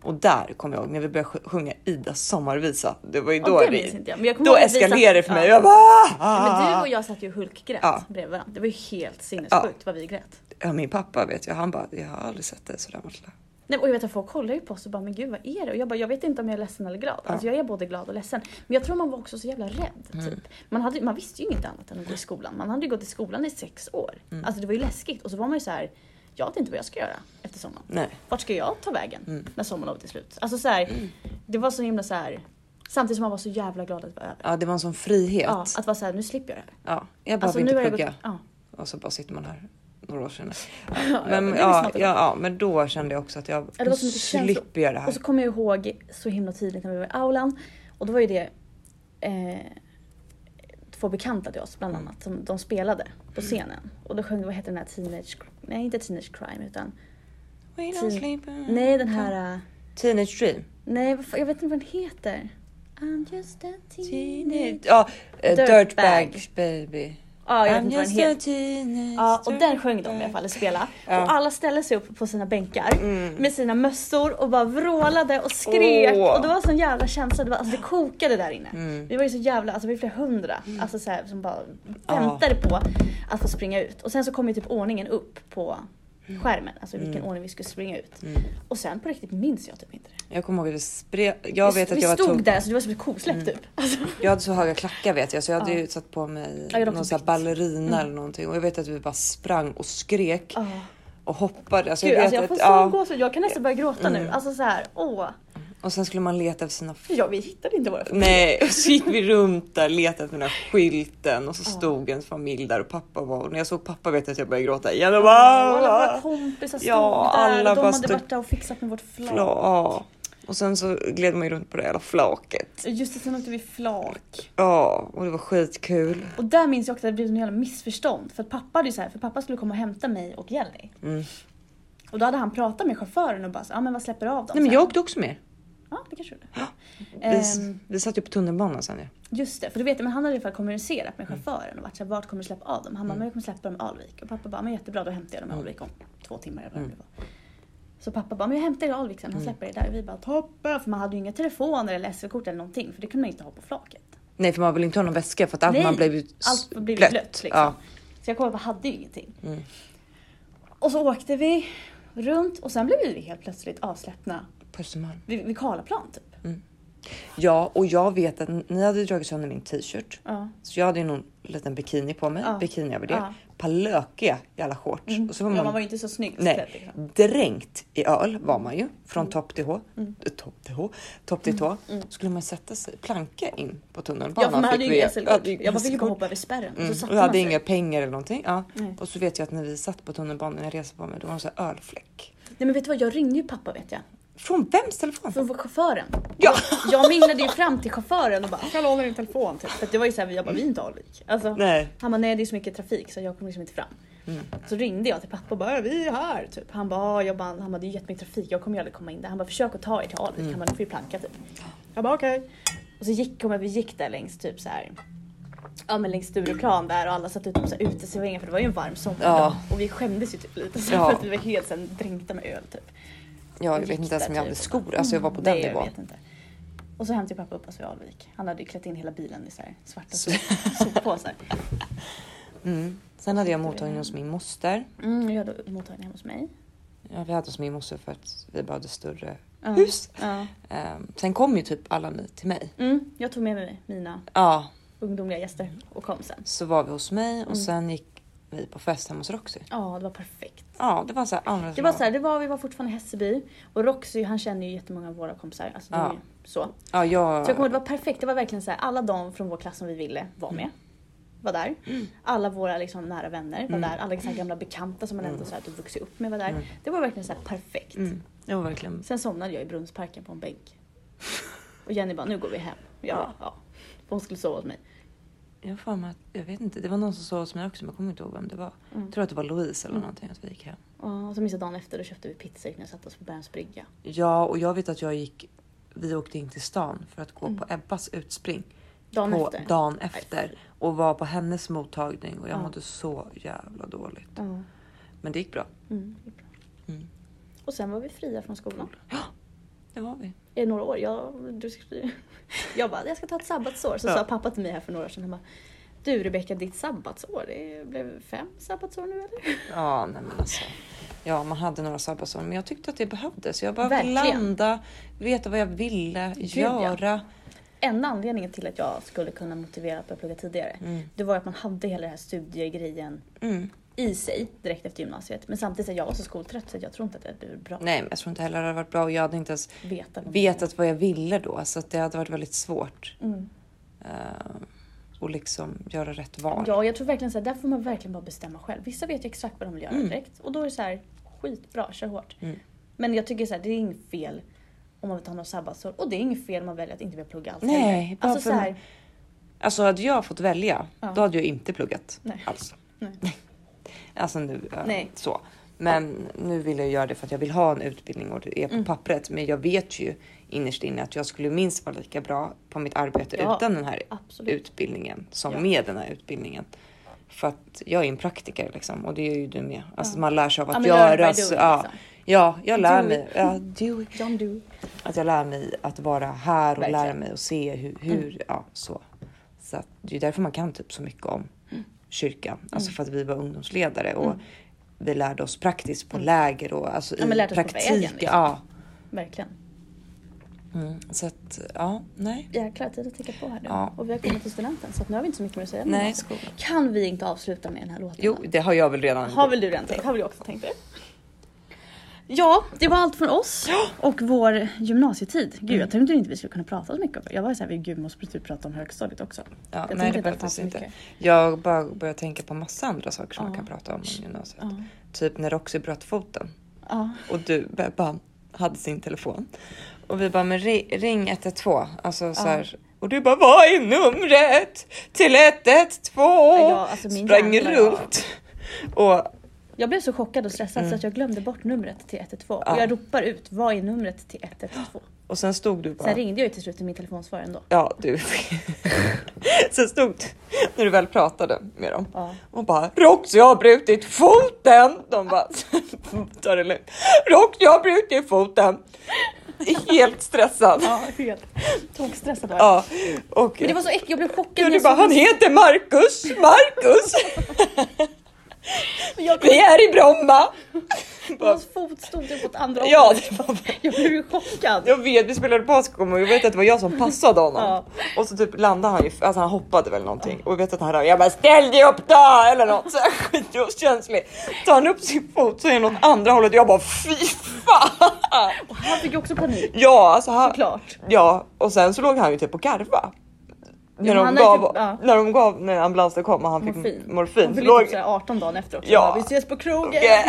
Speaker 1: och där kommer jag ihåg när vi började sj- sjunga Idas sommarvisa. Det var ju
Speaker 2: Ja,
Speaker 1: då
Speaker 2: det
Speaker 1: det,
Speaker 2: minns inte jag, men jag kommer
Speaker 1: då
Speaker 2: ihåg att vi
Speaker 1: eskalerade det
Speaker 2: satt-
Speaker 1: för mig.
Speaker 2: ja.
Speaker 1: Jag bara,
Speaker 2: Men du
Speaker 1: "Ah!"
Speaker 2: och jag satt ju och hulkgrät
Speaker 1: Ja.
Speaker 2: bredvid varandra. Det var ju helt sinnessjukt vad vi grät.
Speaker 1: ja, min pappa vet jag, han bara, jag har aldrig sett dig sådär Matilda.
Speaker 2: Nej, och jag vet att folk kollar ju på oss och bara, men gud vad är det? Och jag bara, jag vet inte om jag är ledsen eller glad. Alltså jag är både glad och ledsen. Men jag tror man var också så jävla rädd.
Speaker 1: Mm.
Speaker 2: Typ. Man, hade, man visste ju inget annat än att gå i skolan. Man hade ju gått i skolan i sex år.
Speaker 1: Mm.
Speaker 2: Alltså det var ju läskigt. Och så var man ju så här, jag vet inte vad jag ska göra efter sommaren.
Speaker 1: Nej.
Speaker 2: Vart ska jag ta vägen
Speaker 1: Mm.
Speaker 2: när sommarlovet är slut? Alltså så här, det var så himla så här. Samtidigt som man var så jävla glad att det var över.
Speaker 1: Ja, det var en sån frihet.
Speaker 2: Ja,
Speaker 1: Ja,
Speaker 2: att vara såhär, nu slipper jag det här. Alltså,
Speaker 1: jag behöver
Speaker 2: nu
Speaker 1: inte plugga.
Speaker 2: ja.
Speaker 1: Och så bara sitter man här några år senare. Men,
Speaker 2: men det är
Speaker 1: ja,
Speaker 2: snart
Speaker 1: ja,
Speaker 2: det
Speaker 1: ja, men då kände jag också att jag
Speaker 2: Ja, det var så
Speaker 1: nu
Speaker 2: mycket känslor.
Speaker 1: slipper jag det här.
Speaker 2: Och så kommer jag ihåg så himla tydligt när vi var i aulan. Och då var ju det eh, två bekanta till oss bland
Speaker 1: Mm.
Speaker 2: annat som de spelade på scenen. Och då sjöng, vad heter den här Teenage, nej inte Teenage Crime utan,
Speaker 1: We don't
Speaker 2: Teen-
Speaker 1: sleep in-
Speaker 2: nej den här, eh,
Speaker 1: Teenage Dream.
Speaker 2: nej vad fan- jag vet inte vad den heter. I'm just a teenage...
Speaker 1: Teenage... Ja, eh,
Speaker 2: Dirtbag.
Speaker 1: Dirtbag baby.
Speaker 2: Ja, jag vet
Speaker 1: I'm
Speaker 2: inte vad den
Speaker 1: just a
Speaker 2: heter.
Speaker 1: teenage
Speaker 2: Ja, och den sjöng de i
Speaker 1: dirtbag.
Speaker 2: alla fall, eller spela.
Speaker 1: Mm. Ja. Mm.
Speaker 2: Och alla ställde sig upp på sina bänkar med sina mössor och bara vrålade och skrek.
Speaker 1: Åh. Mm.
Speaker 2: Och det var sån jävla känsla, det, var, alltså, det kokade där inne. Vi var ju så jävla, alltså vi var flera hundra alltså, så här, som bara väntade på att få springa ut. Och sen så kom ju typ ordningen upp på skärmen, alltså i vilken
Speaker 1: Mm.
Speaker 2: ordning vi skulle springa ut. Och sen på riktigt minns jag typ inte det.
Speaker 1: Jag kommer ihåg att det spred... Jag vet
Speaker 2: vi
Speaker 1: att jag var
Speaker 2: stod
Speaker 1: tung. Mm.
Speaker 2: där, så det var som ett kosläpp typ. Alltså,
Speaker 1: Jag hade så höga klackar vet jag så jag hade ju satt på mig
Speaker 2: Ja, jag hade
Speaker 1: någon
Speaker 2: också
Speaker 1: sån här
Speaker 2: bytt.
Speaker 1: ballerina eller någonting och jag vet att vi bara sprang och skrek
Speaker 2: ja.
Speaker 1: och hoppade. Alltså,
Speaker 2: ah. Gud,
Speaker 1: jag
Speaker 2: alltså,
Speaker 1: vet
Speaker 2: jag får
Speaker 1: att,
Speaker 2: sån
Speaker 1: ja. Mm.
Speaker 2: gåshud, jag kan nästan börja gråta nu. Alltså så här, åh.
Speaker 1: Och sen skulle man leta efter sina
Speaker 2: Ja, vi hittade inte våra
Speaker 1: Nej, och så gick vi runt där, letade efter den här skylten och så stod en familj där och pappa var och när jag såg pappa vet jag att jag började gråta igen. Jag
Speaker 2: Ja,
Speaker 1: bara,
Speaker 2: alla våra kompisar stod
Speaker 1: Ja,
Speaker 2: där
Speaker 1: alla
Speaker 2: och de
Speaker 1: bara
Speaker 2: hade
Speaker 1: stod-
Speaker 2: varit där och fixat med vårt flak.
Speaker 1: Ja. Och sen så gled man ju runt på det jävla flaket.
Speaker 2: Just det, sen åkte vi flak.
Speaker 1: Ja, och det var skitkul.
Speaker 2: Och där minns jag också att det blev en jävla missförstånd. För att pappa hade ju så här, för pappa skulle komma och hämta mig och Jenny.
Speaker 1: Mm.
Speaker 2: Och då hade han pratat med chauffören och bara så, ja men vad släpper av dem?
Speaker 1: Nej men
Speaker 2: Så här,
Speaker 1: jag åkte också med.
Speaker 2: Ja, det kanske du gjorde.
Speaker 1: Vi,
Speaker 2: Ehm,
Speaker 1: vi satt ju på tunnelbanan sen ju.
Speaker 2: just det, för du vet, men han hade i alla fall kommunicerat med
Speaker 1: Mm.
Speaker 2: chauffören och varit så här, vart kommer du släppa av dem? Han bara, men jag kommer släppa dem i Alvik. Och pappa bara, men jättebra, då hämtar jag
Speaker 1: Mm.
Speaker 2: dem i Alvik om två timmar eller vad det var. Så pappa bara, men jag hämtar er i Alvik sen, han
Speaker 1: Mm.
Speaker 2: släpper er där. Och vi bara, toppen! För man hade ju inga telefoner eller SV-kort eller någonting, för det kunde man ju inte ha på flaket.
Speaker 1: Nej för man vill inte ha någon väska för att allt
Speaker 2: Nej,
Speaker 1: man blev ju s-
Speaker 2: allt blev blött. liksom.
Speaker 1: Ja.
Speaker 2: Så jag kom upp och hade ju ingenting.
Speaker 1: Mm.
Speaker 2: Och så åkte vi runt och sen blev vi helt plötsligt avsläppna
Speaker 1: På Östermalm.
Speaker 2: vid, vid Karlaplan typ.
Speaker 1: Ja, och jag vet att ni hade dragit sönder min t-shirt.
Speaker 2: Ja.
Speaker 1: Så jag hade ju någon liten bikini på mig,
Speaker 2: Ja.
Speaker 1: bikini över det.
Speaker 2: Ja. Mm.
Speaker 1: Par lökiga jävla shorts. Och så var
Speaker 2: ja,
Speaker 1: man
Speaker 2: man var ju inte så snyggt klädd.
Speaker 1: Nej,
Speaker 2: Liksom. Mm.
Speaker 1: dränkt i öl var man ju från topp till hå. Eh, Topp till hå. Topp till tå. Skulle man sätta sig planka in på tunnelbanan.
Speaker 2: Ja, för man hade ju
Speaker 1: vi-
Speaker 2: inga SL-kort.
Speaker 1: Ja, det-
Speaker 2: Jag bara fick ju bara
Speaker 1: SL-kort.
Speaker 2: hoppa över spärren. Och
Speaker 1: Mm.
Speaker 2: så
Speaker 1: Och
Speaker 2: satte
Speaker 1: jag
Speaker 2: man
Speaker 1: hade
Speaker 2: sig.
Speaker 1: inga pengar eller någonting. Ja.
Speaker 2: Nej.
Speaker 1: Och så vet jag att när vi satt på tunnelbanan när jag reste på mig, då var det så här ölfläck.
Speaker 2: Nej men vet du vad, jag ringde ju pappa vet jag.
Speaker 1: Från vems telefon?
Speaker 2: Från vår chauffören.
Speaker 1: Ja.
Speaker 2: Jag minglade ju fram till chauffören och bara “kan jag låna din telefon?” typ. För att det var ju såhär, jag bara “vi är inte Alvik”. Alltså,
Speaker 1: Nej. Mm.
Speaker 2: Han bara “nej det är så mycket trafik så jag kommer liksom inte fram”. Så ringde jag till pappa och bara “är vi är här” typ. Han bara “ja, jag bara, han bara, det är jättemycket trafik, jag kommer ju aldrig komma in där”. Han bara “försök att ta er till Alvik,
Speaker 1: Mm.
Speaker 2: han bara “ni får ju planka” typ. Jag bara “okej”. Och så gick, kom jag, vi gick där längs typ så här. Ja men längs Stureplan där och alla satt ute på så här uteserveringar för det var ju en varm sommardag.
Speaker 1: Ja.
Speaker 2: Och vi skämdes ju typ lite så här,
Speaker 1: Ja.
Speaker 2: för att vi var helt sen dränkta med öl typ.
Speaker 1: Ja, jag vet inte ens om jag hade skor. Alltså jag var på den
Speaker 2: Mm. Nej, jag
Speaker 1: nivån.
Speaker 2: vet inte. Och så hämtade pappa upp oss vid Alvik. Han hade ju klätt in hela bilen i så här svarta
Speaker 1: Så-
Speaker 2: sop- soppåsar.
Speaker 1: Mm. Sen hade jag mottagning hos min moster.
Speaker 2: Mm, jag hade mottagning hemma hos mig.
Speaker 1: Ja, vi hade hos min moster för att vi behövde större
Speaker 2: Ja.
Speaker 1: hus.
Speaker 2: Ja.
Speaker 1: Ehm, sen kom ju typ alla ni till mig.
Speaker 2: Mm, jag tog med mig mina
Speaker 1: Ja,
Speaker 2: ungdomliga gäster och kom sen.
Speaker 1: så var vi hos mig och
Speaker 2: Mm.
Speaker 1: sen gick vi på fest hemma hos Roxy.
Speaker 2: Ja, det var perfekt.
Speaker 1: Ja, det var så här andra
Speaker 2: Det var så här, det var, vi var fortfarande i Hässelby och Roxy han känner ju jättemånga av våra kompisar. Alltså, det
Speaker 1: Ja.
Speaker 2: är ju så.
Speaker 1: Ja, jag...
Speaker 2: Så jag kommer ihåg, det var perfekt. Det var verkligen så här, alla de från vår klass som vi ville var med. var där. Alla våra liksom, nära vänner
Speaker 1: Mm.
Speaker 2: var där. Alla så här, gamla bekanta som man ändå så här, hade vuxit upp med var där. Det var verkligen så här, perfekt.
Speaker 1: Mm. Ja, verkligen.
Speaker 2: Sen somnade jag i Brunnsparken på en bänk. Och Jenny bara, nu går vi hem. Jag bara, ja. För hon skulle sova hos mig.
Speaker 1: Jag har för mig att, jag vet inte, det var någon som sa hos mig också, men jag kommer inte ihåg vem det var.
Speaker 2: Mm.
Speaker 1: Jag tror att det var Louise eller någonting att vi gick hem.
Speaker 2: Och så minns jag dagen efter, då köpte vi pizza när jag satte oss på Berns brygga.
Speaker 1: Ja, och jag vet att jag gick, vi åkte in till stan för att gå på Ebbas utspring.
Speaker 2: Mm. Dagen
Speaker 1: på
Speaker 2: efter.
Speaker 1: dagen efter och var på hennes mottagning och jag
Speaker 2: Ja.
Speaker 1: mådde så jävla dåligt.
Speaker 2: Ja.
Speaker 1: Men det gick bra.
Speaker 2: Mm, det är bra.
Speaker 1: Mm.
Speaker 2: Och sen var vi fria från skolan.
Speaker 1: Det var vi.
Speaker 2: I några år. Jag, du, jag bara, jag ska ta ett sabbatsår. Så
Speaker 1: Ja.
Speaker 2: sa pappa till mig här för några år sedan, han bara, du Rebecka, ditt sabbatsår, det blev fem sabbatsår nu eller?
Speaker 1: Ja, nej men alltså. Ja, man hade några sabbatsår, men jag tyckte att det behövdes. Jag behövde
Speaker 2: Verkligen.
Speaker 1: landa, veta vad jag ville
Speaker 2: ja.
Speaker 1: göra.
Speaker 2: Enda anledningen till att jag skulle kunna motivera att börja plugga tidigare, det var att man hade hela den här studiegrejen
Speaker 1: Mm.
Speaker 2: i sig direkt efter gymnasiet. Men samtidigt, så här, jag var så skoltrött så jag tror inte att det hade blivit bra.
Speaker 1: Nej, men jag tror inte heller det hade varit bra och jag hade inte ens
Speaker 2: Veta vad-
Speaker 1: vetat vad jag ville då, så att det hade varit väldigt svårt
Speaker 2: Mm.
Speaker 1: eh, att liksom göra rätt val.
Speaker 2: Ja, jag tror verkligen så här, där får man verkligen bara bestämma själv. Vissa vet ju exakt vad de vill göra direkt och då är det så här, skitbra, kör hårt.
Speaker 1: Mm.
Speaker 2: Men jag tycker så här, det är inget fel om man vill ta något sabbatsår och det är inget fel om man väljer att inte vilja plugga alls
Speaker 1: Nej,
Speaker 2: heller.
Speaker 1: bara
Speaker 2: alltså,
Speaker 1: för
Speaker 2: så här,
Speaker 1: Alltså hade jag fått välja,
Speaker 2: Ja.
Speaker 1: då hade jag inte pluggat
Speaker 2: Nej.
Speaker 1: alls.
Speaker 2: Nej.
Speaker 1: Alltså nu, eh,
Speaker 2: Nej.
Speaker 1: så. Men nu vill jag göra det för att jag vill ha en utbildning och det är på
Speaker 2: Mm.
Speaker 1: pappret. Men jag vet ju innerst inne att jag skulle minst vara lika bra på mitt arbete
Speaker 2: Ja,
Speaker 1: utan den här
Speaker 2: absolut.
Speaker 1: utbildningen som
Speaker 2: Ja.
Speaker 1: med den här utbildningen. För att jag är en praktiker liksom och det är ju du med. Alltså man lär sig av
Speaker 2: Ja,
Speaker 1: att
Speaker 2: men learn by
Speaker 1: göra. så-
Speaker 2: doing,
Speaker 1: ja.
Speaker 2: liksom.
Speaker 1: ja, jag lär
Speaker 2: Do
Speaker 1: mig. Ja, do it.
Speaker 2: John Doe.
Speaker 1: Att jag lär mig att vara här och
Speaker 2: Verkligen. Mm.
Speaker 1: lära mig och se hur, hur ja så. Så att det är därför man kan typ så mycket om
Speaker 2: Mm.
Speaker 1: kyrkan. Alltså för att vi var ungdomsledare och vi lärde oss praktiskt på läger och alltså
Speaker 2: Mm. Ja, men
Speaker 1: i
Speaker 2: lärde oss på
Speaker 1: praktik.
Speaker 2: vägen, liksom.
Speaker 1: Ja.
Speaker 2: Verkligen.
Speaker 1: Mm. Så att ja, nej.
Speaker 2: Jäklar, tiden tickar på här nu.
Speaker 1: Ja.
Speaker 2: Och vi har kommit till studenten så att nu har vi inte så mycket mer att säga. om
Speaker 1: Nej,
Speaker 2: den här.
Speaker 1: skolan.
Speaker 2: Kan vi inte avsluta med den här låten?
Speaker 1: Jo,
Speaker 2: då?
Speaker 1: det har jag väl redan.
Speaker 2: Har väl du redan tänkt? Har väl jag också tänkt det? Ja, det var allt från oss och vår gymnasietid. Gud,
Speaker 1: Mm.
Speaker 2: jag tänkte inte vi skulle kunna prata så mycket om det. Jag var så här, vi gud vi måste typ prata om högstadiet också.
Speaker 1: ja,
Speaker 2: jag
Speaker 1: nej,
Speaker 2: tänkte
Speaker 1: det
Speaker 2: inte
Speaker 1: behövdes
Speaker 2: alls så
Speaker 1: inte.
Speaker 2: mycket.
Speaker 1: Jag bara börjar tänka på massa andra saker som man
Speaker 2: Ja.
Speaker 1: kan prata om i gymnasiet.
Speaker 2: Ja.
Speaker 1: Typ när Roxy bröt foten.
Speaker 2: Ja.
Speaker 1: Och du Bebban hade sin telefon. Och vi bara, men ri- ring 112. Alltså så här. Och du bara, vad är numret till 112?
Speaker 2: Ja, alltså, min
Speaker 1: Sprang
Speaker 2: hjärna-
Speaker 1: runt. Och
Speaker 2: Jag blev så chockad och stressad så att jag glömde bort numret till 112.
Speaker 1: Mm. Ja.
Speaker 2: Och jag ropar ut, vad är numret till 112?
Speaker 1: Och sen stod du bara...
Speaker 2: Sen ringde jag ju till slut till min telefonsvarare ändå.
Speaker 1: Ja, du. sen stod du, när du väl pratade med dem
Speaker 2: Ja.
Speaker 1: och bara Rox, jag har brutit foten. De bara ta det lugnt. Rox, jag har brutit foten. Helt stressad.
Speaker 2: Ja, helt tokstressad var jag.
Speaker 1: Ja, och
Speaker 2: Men det var så äckligt, jag blev chockad.
Speaker 1: Ja,
Speaker 2: när
Speaker 1: du
Speaker 2: jag
Speaker 1: bara,
Speaker 2: såg-
Speaker 1: han heter Marcus, Marcus! Vi är i Bromma! Bara,
Speaker 2: Hans fot stod typ åt andra hållet.
Speaker 1: ja, det var,
Speaker 2: Jag blev ju chockad.
Speaker 1: jag vet, vi spelade baskom och jag vet att det var jag som passade honom.
Speaker 2: Ja.
Speaker 1: Och så typ landade han ju, alltså han hoppade väl någonting. Och jag vet att han rör, jag bara ställ dig upp då! Eller något så här skitokänslig. Tar han upp sin fot så är den åt andra hållet och jag bara fy fan!
Speaker 2: Och han fick ju också panik.
Speaker 1: Ja, alltså han,
Speaker 2: Såklart.
Speaker 1: Ja, och sen så låg han ju typ och garva. När,
Speaker 2: men
Speaker 1: de
Speaker 2: han är
Speaker 1: gav,
Speaker 2: typ- ja.
Speaker 1: när de gav, när ambulansen kom och han
Speaker 2: Morfin.
Speaker 1: fick morfin. så
Speaker 2: Han fyllde
Speaker 1: låg,
Speaker 2: typ såhär 18 dagen efter också.
Speaker 1: Ja.
Speaker 2: Bara, Vi ses på krogen!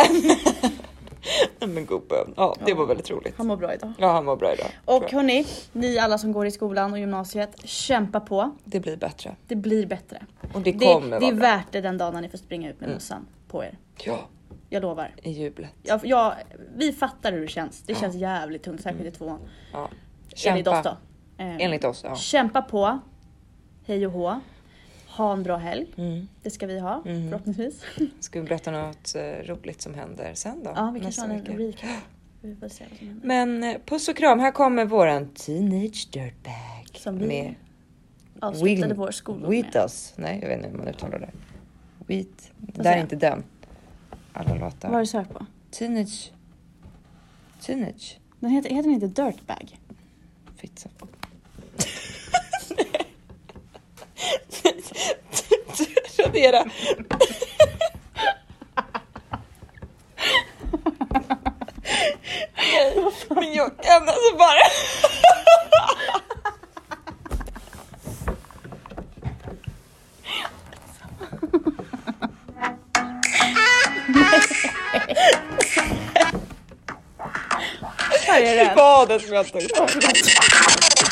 Speaker 1: Nej men gubben, ja det var väldigt roligt.
Speaker 2: Han mår bra idag.
Speaker 1: Ja han var bra idag. tror
Speaker 2: Och
Speaker 1: jag.
Speaker 2: hörni, ni alla som går i skolan och gymnasiet, kämpa på.
Speaker 1: Det blir bättre.
Speaker 2: Det blir bättre.
Speaker 1: Och det
Speaker 2: Det,
Speaker 1: kommer
Speaker 2: det
Speaker 1: vara
Speaker 2: är
Speaker 1: bra. Mm.
Speaker 2: värt det den dagen när ni får springa ut med mössan på er.
Speaker 1: Ja,
Speaker 2: Jag lovar.
Speaker 1: i jublet.
Speaker 2: Jag, jag, vi fattar hur det känns. Det känns jävligt tungt, särskilt i tvåan.
Speaker 1: Ja.
Speaker 2: Enligt oss då.
Speaker 1: Mm. Kämpa.
Speaker 2: Eh,
Speaker 1: Enligt oss, ja.
Speaker 2: Kämpa på. Hej och hå. Ha en bra helg.
Speaker 1: Mm.
Speaker 2: Det ska vi ha förhoppningsvis.
Speaker 1: Ska vi berätta något eh, roligt som händer sen då?
Speaker 2: Ja, vi kanske
Speaker 1: Nästa
Speaker 2: har en
Speaker 1: vecka.
Speaker 2: recap. Vi får se vad som händer.
Speaker 1: Men eh, puss och kram, här kommer våran Teenage Dirtbag.
Speaker 2: Som vi
Speaker 1: med
Speaker 2: Avslutade
Speaker 1: Will-
Speaker 2: vår skolgång med.
Speaker 1: Wheatus. Nej, jag vet inte hur man uttalar det. Wheat. Det där
Speaker 2: säger
Speaker 1: är
Speaker 2: jag?
Speaker 1: inte den. Alla låtar.
Speaker 2: Vad har du sökt på?
Speaker 1: Teenage. Teenage.
Speaker 2: Den heter, heter den inte Dirtbag?
Speaker 1: Fitta. Radera. Nej, Men jag kan alltså bara.
Speaker 2: säger det.
Speaker 1: Badet skulle jag ha tagit bort.